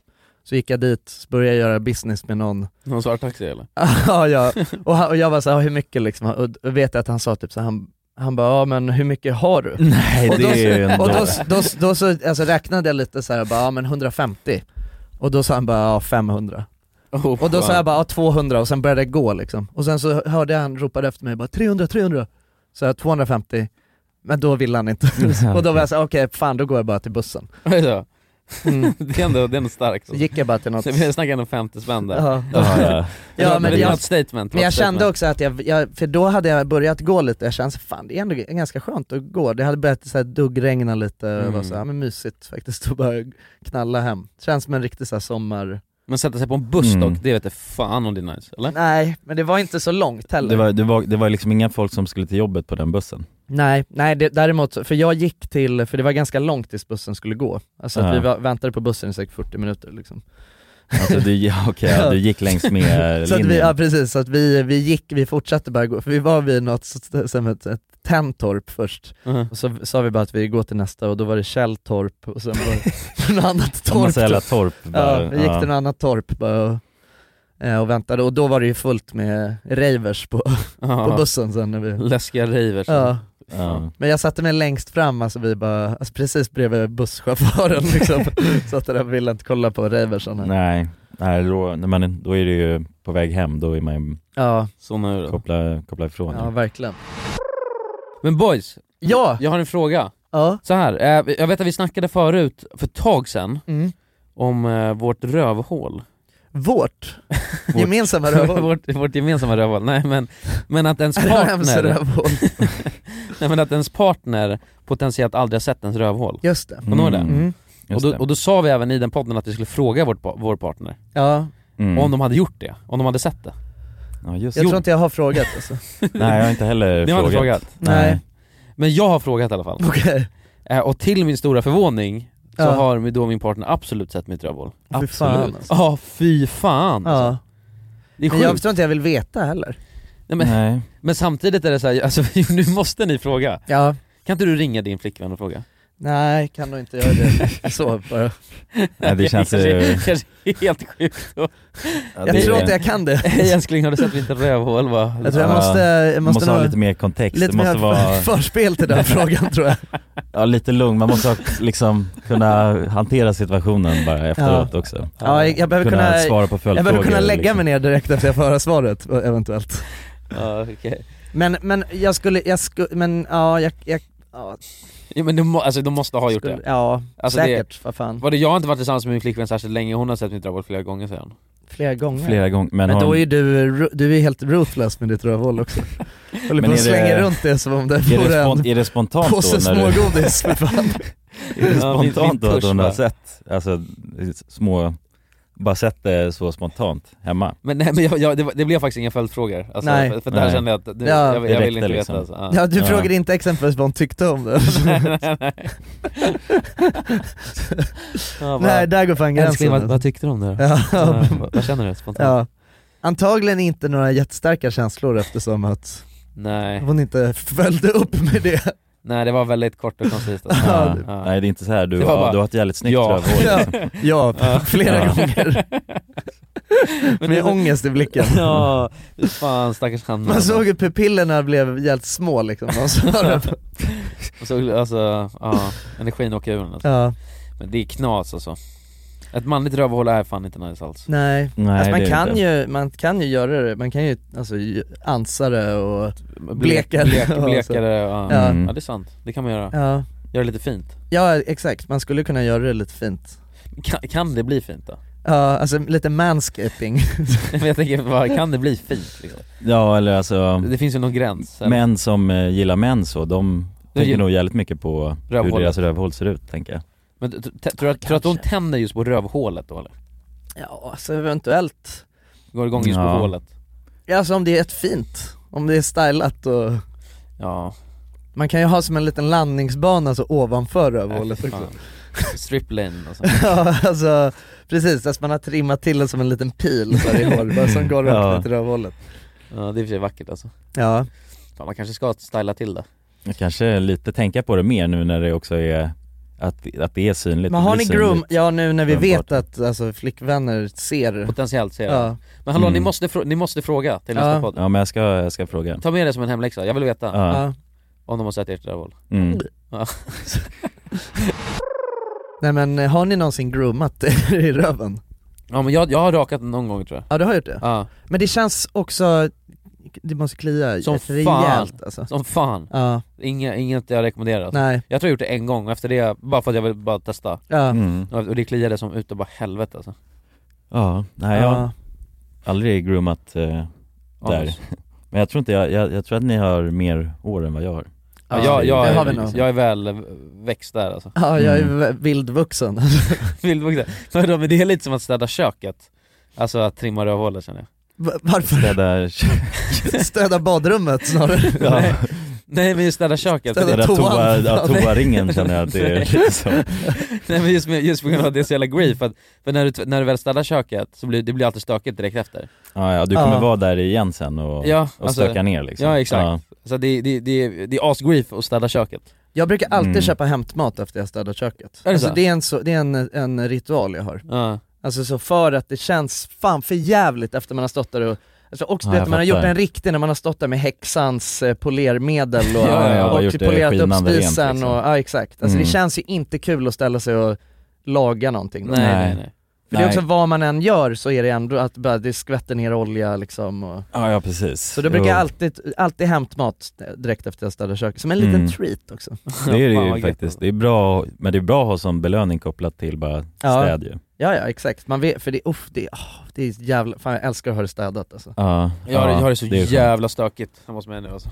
Så gick jag dit, så började jag göra business med någon Någon svart taxi eller? ja, ja. Och, han, och jag var så här, hur mycket liksom? Och då vet jag att han sa typ så här, han, han bara, ja men hur mycket har du? Nej, och det då, är ju ändå- Och då, då, då så, alltså, räknade jag lite så här, jag bara, ja men 150. Och då sa han bara, ja 500. och då sa fan. jag bara, ja 200 och sen började det gå liksom. Och sen så hörde jag han ropade efter mig, bara 300, 300. Så jag 250. Men då ville han inte. och då var jag såhär, okej fan då går jag bara till bussen. Är det så? Mm. Det är ändå, det är ändå starkt. alltså. Så gick jag bara till något Vi snackar ändå 50 spänn där. Ja. Ja, ja. Det var- det var ett statement, det Men var jag ett kände statement. också att jag, jag, för då hade jag börjat gå lite, jag kände så, fan det är ändå g- ganska skönt att gå. Det hade börjat så här duggregna lite och Mm. var så, ja men mysigt faktiskt att bara knalla hem. Känns som en riktig så här sommar... Men sätta sig på en buss Mm. dock, det vet jag fan om det är nice, eller? Nej, men det var inte så långt heller. Det var, det, var, det var liksom inga folk som skulle till jobbet på den bussen. Nej, nej det, däremot, så- för jag gick till, för det var ganska långt tills bussen skulle gå. Alltså att Ja. vi var, väntade på bussen i säkert 40 minuter liksom. Alltså du, ja, okej, ja, du gick längs med så att linjen. vi, Ja precis, så att vi, vi gick, vi fortsatte bara gå, för vi var vid något st- som ett, ett Tenntorp först, Mhm. och så sa vi bara att vi går till nästa och då var det Källtorp och sen var det något annat En massa jävla torp. torp bara, ja, vi gick ja. till något annat torp bara och, eh, och väntade och då var det ju fullt med ravers på, på Ja. bussen sen när vi Läskiga ravers. Ja. Ja. Men jag satte mig längst fram, alltså vi bara, alltså precis bredvid busschauffören liksom, satt där och ville inte kolla på raversen här. Nej, nej då, när man, då är det ju på väg hem, då är man ju Ja, Såna är det. koppla, koppla ifrån. ja verkligen. Men boys, Ja! jag har en fråga. Ja. Så här, eh, jag vet att vi snackade förut, för ett tag sedan, Mm. om eh, vårt rövhål. Vårt, gemensamma rövhål. vårt, vårt gemensamma rövhål, nej men, men att ens Rams partner, rövhål. nej, men att ens partner potentiellt aldrig har sett ens rövhål. Just det. Kommer du ihåg det? Mm, Mm. Och just då, det. och då sa vi även i den podden att vi skulle fråga vårt, pa- vår partner Ja, Mm. om de hade gjort det, om de hade sett det. ja, just jag det. tror inte jag har frågat alltså. Nej jag har inte heller Ni har inte frågat? Nej. Men jag har frågat i alla fall. Okej, Eh, och till min stora förvåning så Ja. har mi- då min partner absolut sett mitt rövhål. fy fan alltså. Ja, fy fan alltså. Ja. Det är Men sjukt. jag tror inte jag vill veta heller. Nej, men, Nej. men samtidigt är det så här, alltså, nu måste ni fråga. Ja, Kan inte du ringa din flickvän och fråga? nej kan nog inte göra det. Så bara. Nej, det känns eh, kanske, ju... kanske helt sjukt. då. Ja, Jag det- tror inte jag kan det. Hej älskling, har du sett mitt rövhål? Bara, Jag tror jag Ja. måste, jag måste, måste, nog- ha lite mer kontext, lite det måste mer vara förspel till den frågan tror jag. ja, lite lugn, man måste ha, liksom kunna hantera situationen bara efteråt också. Ja, jag behöver kunna, kunna- svara på Jag följdfrågor. behöver kunna lägga liksom. mig ner direkt efter jag får höra svaret eventuellt. Ja, okej. Men, men jag skulle, jag skulle, men ja, jag, jag ja, ja, men de, må, alltså, de måste ha gjort skulle, det. ja Alltså, det- säkert, vad fan. Vadå, jag har inte varit tillsammans med min flickvän särskilt länge, hon har sett mitt rövhål flera gånger sedan. Flera gånger. Flera gånger, men, Men, har då hon- är ju du, ru- du är helt ruthless med ditt rövhål också. Håller på och Men är det- slänger runt det som om det är, vore det en spont, är det spontant då? påse när du- smågodis för fan. Är det Ja, min- min spontant då att tusch hon bara. har sett, alltså små, bara sett det så spontant hemma? Men, nej, men jag, jag, det, var- det blev faktiskt inga följdfrågor, alltså, Nej. för, för där Nej. kände jag att nu, Ja. jag, Det jag vill räckte inte veta liksom. alltså. Ja, du Ja. frågade inte exempelvis vad hon tyckte om det. nej, nej, nej. Ja, bara, Nej, där går fan älskling, gränsen. vad, vad alltså. tyckte du om det då? Ja. Ja, vad, vad känner du spontant? Ja. Antagligen inte några jättestarka känslor eftersom att Nej. hon inte följde upp med det. nej, det var väldigt kort och koncist alltså. Ja. Ja. Nej det är inte så här du, Det var ja, bara- du har ett jävligt snyggt Ja. rövhål Ja, liksom. ja flera Ja. gånger. Med ångest i blicken. Ja, fan stackars han Man såg hur pupillerna blev helt små liksom. Man såg- Man såg, alltså, ja, energin åker ur den, alltså. ja. Men det är knas alltså Ett manligt rövhål är fan inte nice alls Nej, Nej, alltså, man, det är kan inte. ju, man kan ju göra det, man kan ju alltså, ju- ansa det och Blekare. Blek, blek, blekare, ja. Ja. Ja. Mm. det är sant, det kan man göra, ja. göra lite fint ja exakt, man skulle kunna göra det lite fint Kan, kan det bli fint då? Ja, alltså lite manscaping Men jag tänker, vad, kan det bli fint liksom? Ja eller alltså, Det finns ju någon gräns eller? män som eh, gillar män så, de De tänker gillar- nog jävligt mycket på hur Rövhålet. deras rövhål ser ut tänker jag Men t- t- tror du att- tror du att hon tänder just på rövhålet då eller? Ja, alltså eventuellt. Går igång just på Ja. hålet? Ja, Alltså om det är ett fint, om det är stylat och... Ja. Man kan ju ha som en liten landningsbana så Äh, ovanför rövhålet också. Striplane och sånt. Ja, alltså precis, alltså man har trimmat till det som en liten pil varje hår, bara som går runt Ja. lite rövhålet. Ja det är i och för sig vackert alltså. Ja. Fan, man kanske ska styla till det. Jag kanske lite tänka på det mer nu när det också är att, att det är synligt Men det har ni blir groom, synligt. ja nu när vi vet Uppenbart. att alltså, flickvänner ser Potentiellt ser jag. Ja. Men hallå Mm. ni, måste frå- ni måste fråga till Ja. nästa podd. Ja men jag ska, jag ska fråga Ta med det som en hemläxa, jag vill veta. Ja. Ja. Om de har sett ert rövhål. Mm. Ja. Nej men eh, har ni någonsin groomat er i röven? ja men jag, jag har rakat någon gång tror jag. Ja du har gjort det? Ja. Men det känns också, det måste klia Som rätt rejält fan. alltså Som fan. Ja, Inga, inget jag rekommenderar alltså. nej, Jag tror jag gjort det en gång och efter det, bara för att jag ville bara testa. ja, Mm. Och och det kliade som ute bara helvete alltså. Ja, nej jag har ja. aldrig groomat eh, där Anus. Men jag tror inte, jag, jag, jag tror att ni har mer år än vad jag har Ja, Ja, jag, jag, det har är, vi nog. jag är väl eh, växt där alltså. ja jag är Mm. v- vildvuxen Vildvuxen. Men då- men det är lite som att städa köket. Alltså att trimma rövhålet känner jag. Va- Varför? Städa, Städa badrummet snarare? Nej, nej men just städa köket. Städa städa toa, toan. ja, toaringen känner jag att det är liksom Nej men just, med, just på grund av att det är så jävla grief, för, att, för när, du, när du väl städar köket så blir det blir alltid stökigt direkt efter. Ja, ja du kommer Ja. vara där igen sen och, Ja, och alltså- stöka ner liksom Ja, exakt. Så det, det, det, är- det är asgrief att städa köket. Jag brukar alltid Mm. köpa hämtmat efter jag städat köket Är det Alltså så? det är, en, så, det är en, en ritual jag har Ja. Alltså så för att det känns fan för jävligt efter man har stått där och Alltså också Ja, du jag vet, man har gjort fattar. en riktig när man har stått där med häxans eh, polermedel och, Ja, ja, och och gjort det polerat upp skinande rent, spisen liksom. och, ja exakt. Alltså Mm. det känns ju inte kul att ställa sig och laga någonting då. Nej, nej nej För det är också vad man än gör så är det ändå att bara, det skvätter ner olja liksom och, Ja, ja precis Så då brukar jag Jo. alltid, alltid hämtmat direkt efter jag städat köket, som en liten Mm. treat också Det är Fan, det vad ju gött. faktiskt, det är bra, men det är bra att ha som belöning kopplat till bara Ja. städ ju Ja ja exakt, man vet, för det, uff, det, åh, det är jävla, fan jag älskar att ha det städat alltså Ja, Jag har, ja, jag har det så är skönt. jävla stökigt hemma hos mig nu alltså.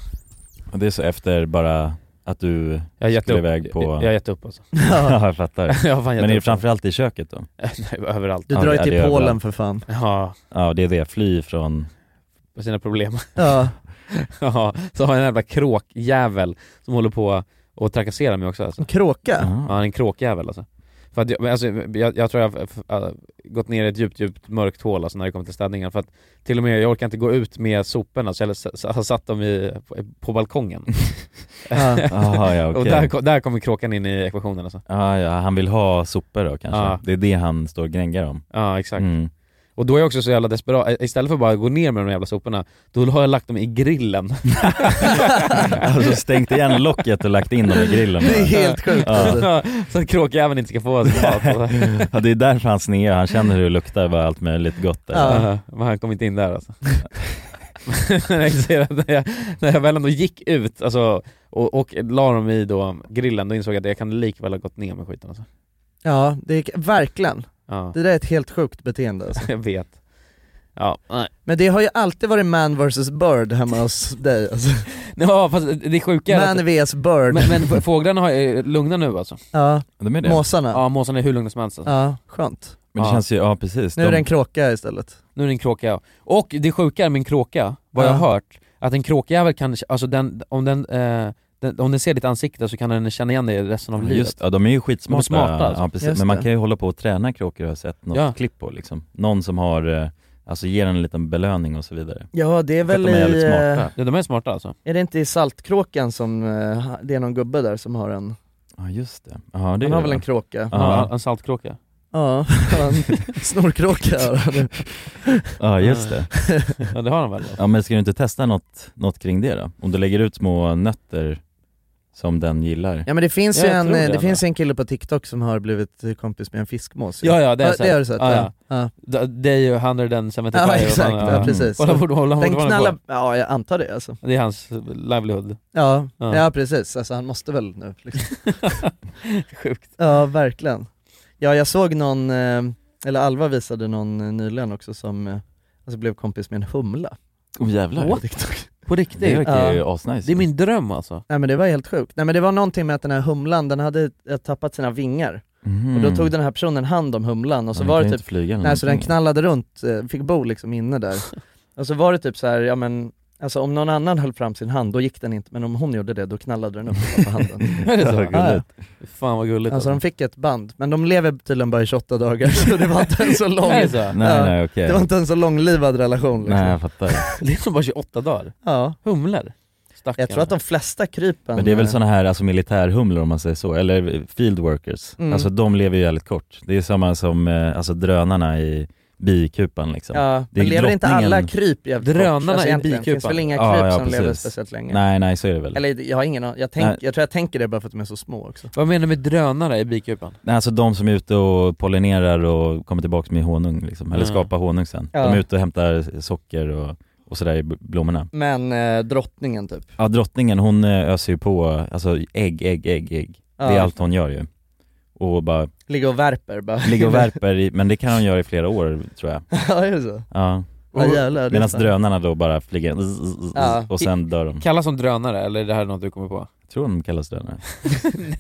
Och Det är så efter bara att du, Jag har gett Skulle upp. iväg på- Jag har gett upp alltså. ja jag fattar Jag har fan gett Men är det upp. framförallt i köket då? Nej, överallt. Du Ja, drar ju det- till det gör Polen för fan Ja, Ja det är det, fly från, på sina problem. Ja, Ja, så har jag en jävla kråkjävel som håller på och trakasserar mig också alltså. en kråka? Ja, han är en kråkjävel alltså. För att jag, men alltså, jag, jag tror jag har f- äh, gått ner i ett djupt, djupt mörkt hål alltså, när det kommer till städningen. För att till och med, jag orkar inte gå ut med soporna så jag s- s- har satt dem i, på, på balkongen. Ja. Aha, ja, Och okej. där, kom- där kommer kråkan in i ekvationen alltså. ja, ja han vill ha sopor då kanske, Ja. det är det han står och gnäggar om Ja exakt. Mm. Och då är jag också så jävla desperat, istället för bara att gå ner med de jävla soporna, då har jag lagt dem i grillen. Alltså stängt igen locket och lagt in dem i grillen Det är bara. helt sjukt alltså. så att kråkjäveln inte ska få sin mat. alltså. Ja det är därför han snear, han känner hur det luktar bara allt möjligt gott där Ja. Ja, men han kom inte in där alltså. Men jag ser att när, jag, när jag väl ändå gick ut alltså, och, och la dem i då grillen, då insåg jag att jag kan likväl ha gått ner med skiten alltså. Ja, det är, verkligen. Ja, Det där är ett helt sjukt beteende alltså. jag vet. Ja, nej. Men det har ju alltid varit man vs bird hemma hos dig alltså. Ja, fast det sjuka är Man att, vs bird. men, men f- fåglarna har- är lugna nu alltså. ja, De är det. måsarna. Ja. Ja, måsarna är hur lugna som helst alltså. skönt. Men det Ja. känns ju, ja precis Nu är det en kråka istället. Nu är det en kråka. Och det sjuka är min kråka, vad Ja. jag har hört, att en kråkjävel kan, alltså den, om den, eh, den, om den ser ditt ansikte så kan den känna igen dig resten av Ja, livet. Just, ja de är ju skitsmarta. De är smarta, alltså. ja, precis. Just Men man det. kan ju hålla på och träna kråkor har jag sett något Ja. klipp på liksom. Någon som har, eh, alltså ger en liten belöning och så vidare. Ja det är För att väl de är i, jävligt eh, smarta. Ja, de är smarta alltså. är det inte i Saltkråkan som, eh, ha- det är någon gubbe där som har en, Ja just det. Ja, det han är har det. väl en kråka? Ja. Ja, En saltkråka. Ja, en snorkråka har han. ja just det. Ja det har de väl? då. Ja men ska du inte testa något, något kring det då? Om du lägger ut små nötter som den gillar. Ja men det finns Ja, ju jag en, eh, tror det det ändå. finns en kille på TikTok som har blivit eh, kompis med en fiskmås Ja ja, det har jag det har du sett. sett? Ja, Ja, ja. ja. D- Det är ju 175 Ja, exakt, och fan, ja, precis. Hålla på, hålla Den fortfarande knallar, ja jag antar det alltså. på. Det är hans livelihood. Ja, ja. Ja. precis, alltså han måste väl nu liksom. Sjukt. Ja verkligen. Ja jag såg någon, eh, eller Alva visade någon eh, nyligen också som eh, alltså blev kompis med en humla Åh jävlar. på TikTok. På Det riktigt. verkar ju Ja. asnice. Det är min dröm alltså. Nej men det var helt sjukt. Nej men det var någonting med att den här humlan, den hade eh, tappat sina vingar Mhm. Och då tog den här personen hand om humlan och så Ja, den var kan det ju typ, inte Mm. flyga eller nej så den någonting. knallade runt, eh, fick bo liksom inne där. och så var det typ så här, ja men Alltså om någon annan höll fram sin hand, då gick den inte, men om hon gjorde det, då knallade den upp på handen. Är det så? Ja, ja. Fan vad gulligt Alltså de fick ett band, men de lever tydligen bara i 28 dagar så det var inte en så lång, Är det så? Ja, Nej, nej, okej. det var inte en så långlivad relation liksom. Nej jag fattar. Det är som bara 28 dagar. Ja. Humlor. Stackarn. Jag tror att de flesta krypen Men det är väl sådana här alltså militärhumlor om man säger så, eller field workers. Mm. Alltså de lever ju väldigt kort. Det är samma som eh, alltså, drönarna i bikupan liksom. Ja, Det är men lever inte drottningen- alla kryp jävligt kort? Drönarna i egentligen bikupan. finns väl inga kryp Ja, ja, som lever precis. speciellt länge? Nej nej så är det väl. Eller jag har ingen an- jag, Nej. tänk, jag tror jag tänker det bara för att de är så små också. Vad menar du med drönare i bikupan? Nej, alltså de som är ute och pollinerar och kommer tillbaka med honung liksom, eller Ja. skapar honung sen. Ja. De är ute och hämtar socker och, och sådär i b- blommorna. Men eh, drottningen typ. Ja drottningen hon eh, öser ju på, alltså ägg, ägg, ägg, ägg. Det är Ja. allt hon gör ju. Och bara Ligger och värper bara. ligger och värper i, men det kan hon göra i flera år tror jag. ja, är det så? Ja. Ja, jävlar, det är Medan sant. drönarna då bara flyger zzz, zzz, zzz, Ja. och sen dör de. Kallas de drönare eller är det här något du kommer på? Jag tror de kallas drönare.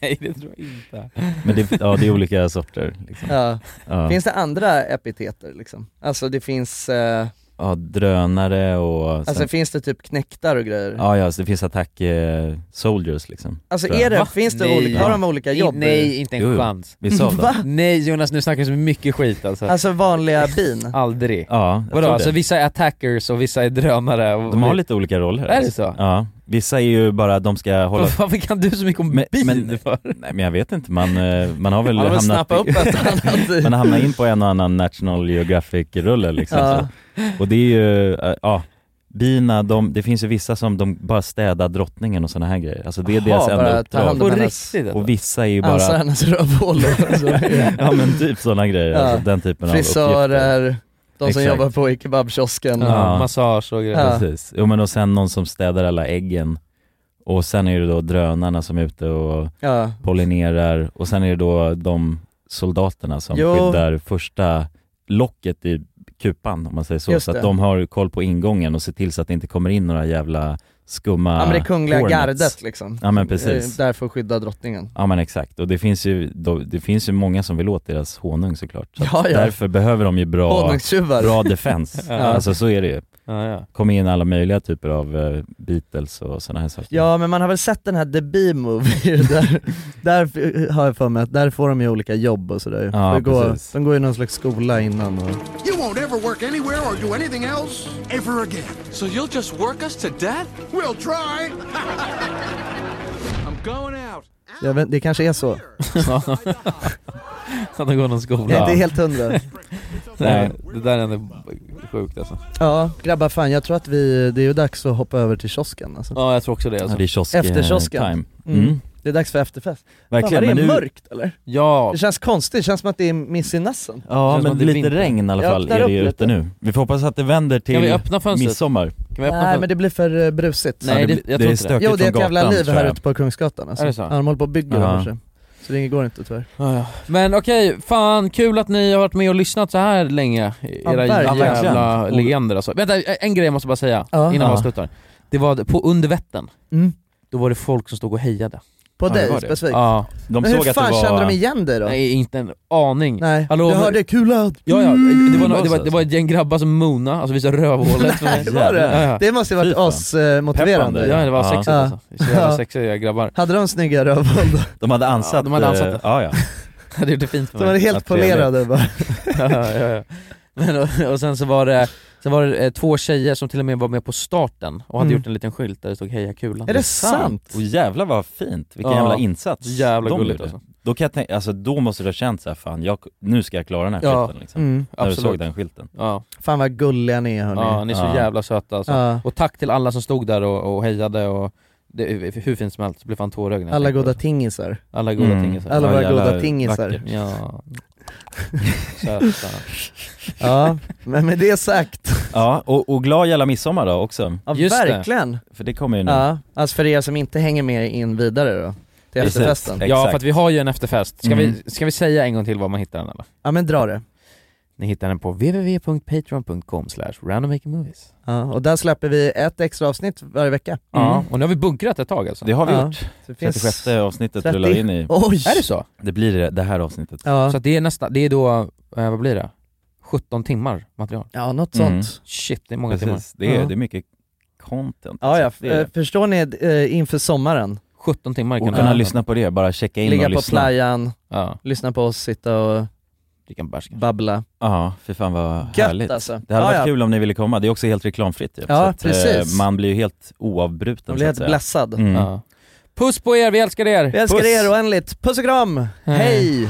Nej det tror jag inte. Men det, ja, det är olika sorter liksom. Ja. Ja. Finns det andra epiteter liksom? Alltså det finns, eh, ja, drönare och sen, alltså finns det typ knäktar och grejer? Ja, ja, så det finns attack eh, soldiers liksom. Alltså tror är jag. det, finns det Nej. olika, har de olika jobb? I, nej, inte en Jo, jo. chans. Vi sa det. Va? Nej Jonas, nu snackar vi så mycket skit alltså. Alltså vanliga bin? Aldrig. Ja, jag Vadå, tror alltså det. vissa är attackers och vissa är drönare? Och De har lite olika roller. Är det så? Ja, vissa är ju bara, de ska hålla... Varför kan du så mycket om Men- bin men- för? Nej men jag vet inte, man, eh, man har väl Har de väl hamnat... snappat upp ett annat? i- man har hamnat in på en och annan National Geographic-rulle liksom. Ja. Så. Och det är ju, eh, ja, bina, de, det finns ju vissa som de bara städar drottningen och sådana här grejer. Alltså det är Jaha, deras enda bara ta hand uppdrag. om På hennes- riktigt alltså. Och vissa är ju Ansar bara, hennes alltså, rövhålor och så. ja men typ sådana grejer, Ja. alltså, den typen av uppgifter. Frisörer, de som Exakt. jobbar på i kebabkiosken. Ja, Ja. massage och grejer. Ja. Precis, jo men och sen någon som städar alla äggen och sen är det då drönarna som är ute och Ja. pollinerar och sen är det då de soldaterna som Jo. skyddar första locket i kupan om man säger så. Just Så att det. de har koll på ingången och ser till så att det inte kommer in några jävla skumma Ja men det kungliga hornets. gardet liksom. Ja men precis. Eh, Där för att skydda drottningen. Ja men exakt, och det finns ju, då- det finns ju många som vill åt deras honung såklart. Så att Ja, ja. Därför behöver de ju bra, Honungstjuvar. bra defense. Ja. Alltså så är det ju. Ja, ja. Kommer in alla möjliga typer av eh, Beatles och sådana här saker. Ja men man har väl sett den här The Bee-movie, där, där har jag för mig att där får de ju olika jobb och sådär Ja, de, går, precis. de går ju någon slags skola innan och... You won't ever work anywhere or do anything else ever again. So you'll just work us to death? We'll try. I'm going out. Jag vet, det kanske är så, Att de går någon skola. jag är inte helt hundra Eh, Nej, det där är ändå sjukt alltså. Ja, grabbar fan jag tror att vi, det är ju dags att hoppa över till kiosken alltså. Ja jag tror också det Alltså, alltså. det är kiosk Efter kiosken. time. Mm. Mm. Det är dags för efterfest. Fan Verkligen, vad det är men nu... mörkt eller? Ja, Det känns konstigt, det känns som att det är miss i nassen Ja Känns som men att det är lite vinter. regn i alla Jag fall öppnar är upp det ju lite. ute nu. Vi får hoppas att det vänder kan vi till öppna fönstret? midsommar. Kan vi öppna Nej fönstret? men det blir för eh, brusigt Nej, Ja, det- blir- jag det tror är inte det. stökigt Jo det är från ett jävla gatan, liv tror här jag. ute på Kungsgatan alltså. Är det så? Ja, de håller på och bygger Ja. här borta. Så det går inte tyvärr. Ja, ja. Men okej, fan kul att ni har varit med och lyssnat så här länge. Ja, Era verkligen. jävla legender alltså. Vänta, en grej jag måste bara säga Ja. innan Ja. vi avslutar. Det var på under Vättern, Mm. då var det folk som stod och hejade. På Ja, det dig var det. specifikt? Ja, De Men hur såg att det fan var... kände de igen dig då? Nej, nej inte en aning. Hallå, du men- hörde kula Ja, ja. Det, var, no- det, var, Alltså. det Mm. var ett gäng grabbar som mona, alltså visade rövhålet för mig. Det var Ja, det? ja. Det måste ju varit Fy fan. asmotiverande Peppande. ja det var Ja. sexigt Ja. alltså. Så jävla Ja. sexiga grabbar. Hade de snygga rövhål då? De hade ansatt... Ja, de hade ansatt eh, det. Ja, ja. Det gjorde fint för De mig. var Ja, helt trevligt. polerade bara ja, ja, ja. Men, och, och sen så var det, sen var det eh, två tjejer som till och med var med på starten och hade Mm. gjort en liten skylt där det stod 'Heja Kulan' Är det sant? Och jävlar vad fint, vilken Ja. jävla insats Så jävla de gulligt gjorde. alltså. Då kan jag tänka, alltså då måste du ha känt såhär, fan jag, nu ska jag klara den här Ja. skylten liksom. Mm. När du såg absolut. den skylten. Ja, Fan vad gulliga ni är hörni ja ni är så Ja. jävla söta alltså. Ja. Och tack till alla som stod där och, och hejade och det, hur fint som helst, Det blev fan tårögd när jag Alla tänkte på goda det. tingisar Alla goda Mm. ting alltså. är så här. Alla Ja, våra jävla goda tingisar vacker. Ja, söta. Ja, men med det sagt Ja, och, och glad jävla midsommar då också, Ja Just det. verkligen för det kommer ju nu. Ja, alltså för er som inte hänger med in vidare då Till Precis. efterfesten Exakt. Ja för att vi har ju en efterfest, ska, Mm. vi, ska vi säga en gång till var man hittar den eller? Ja men dra det Ni hittar den på www.patreon.com slash randommakingmovies. Ja, och där släpper vi ett extra avsnitt varje vecka. Ja, och nu har vi bunkrat ett tag alltså. Mm. Det har vi Mm. Ja. gjort. Så det finns 36 avsnittet 30. rullar vi in i. Oj! Är det så? Det blir det, det här avsnittet. Ja, Så att det är nästa, det är då, eh, vad blir det? 17 timmar material. ja något Mm. sånt. Shit, det är många timmar. Precis. Det är, Ja. det är mycket content. Alltså, Ja, ja. Det är det. Eh, Förstår ni eh, inför sommaren? 17 timmar kan Och det kunna vara. lyssna på det, bara checka in Ligga och på lyssna. playan, Ja, lyssna på oss, sitta och dricka en bärs kanske. babbla. Ja, för fan vad härligt. Gött alltså. Det hade ja, varit ja. kul om ni ville komma, det är också helt reklamfritt ju. Ja, Så att, eh, precis. Man blir ju helt oavbruten Man blir helt så att blessad. säga. Mm. Ja. Puss på er, vi älskar er! Vi älskar Puss. er oändligt. Puss och kram! Hej.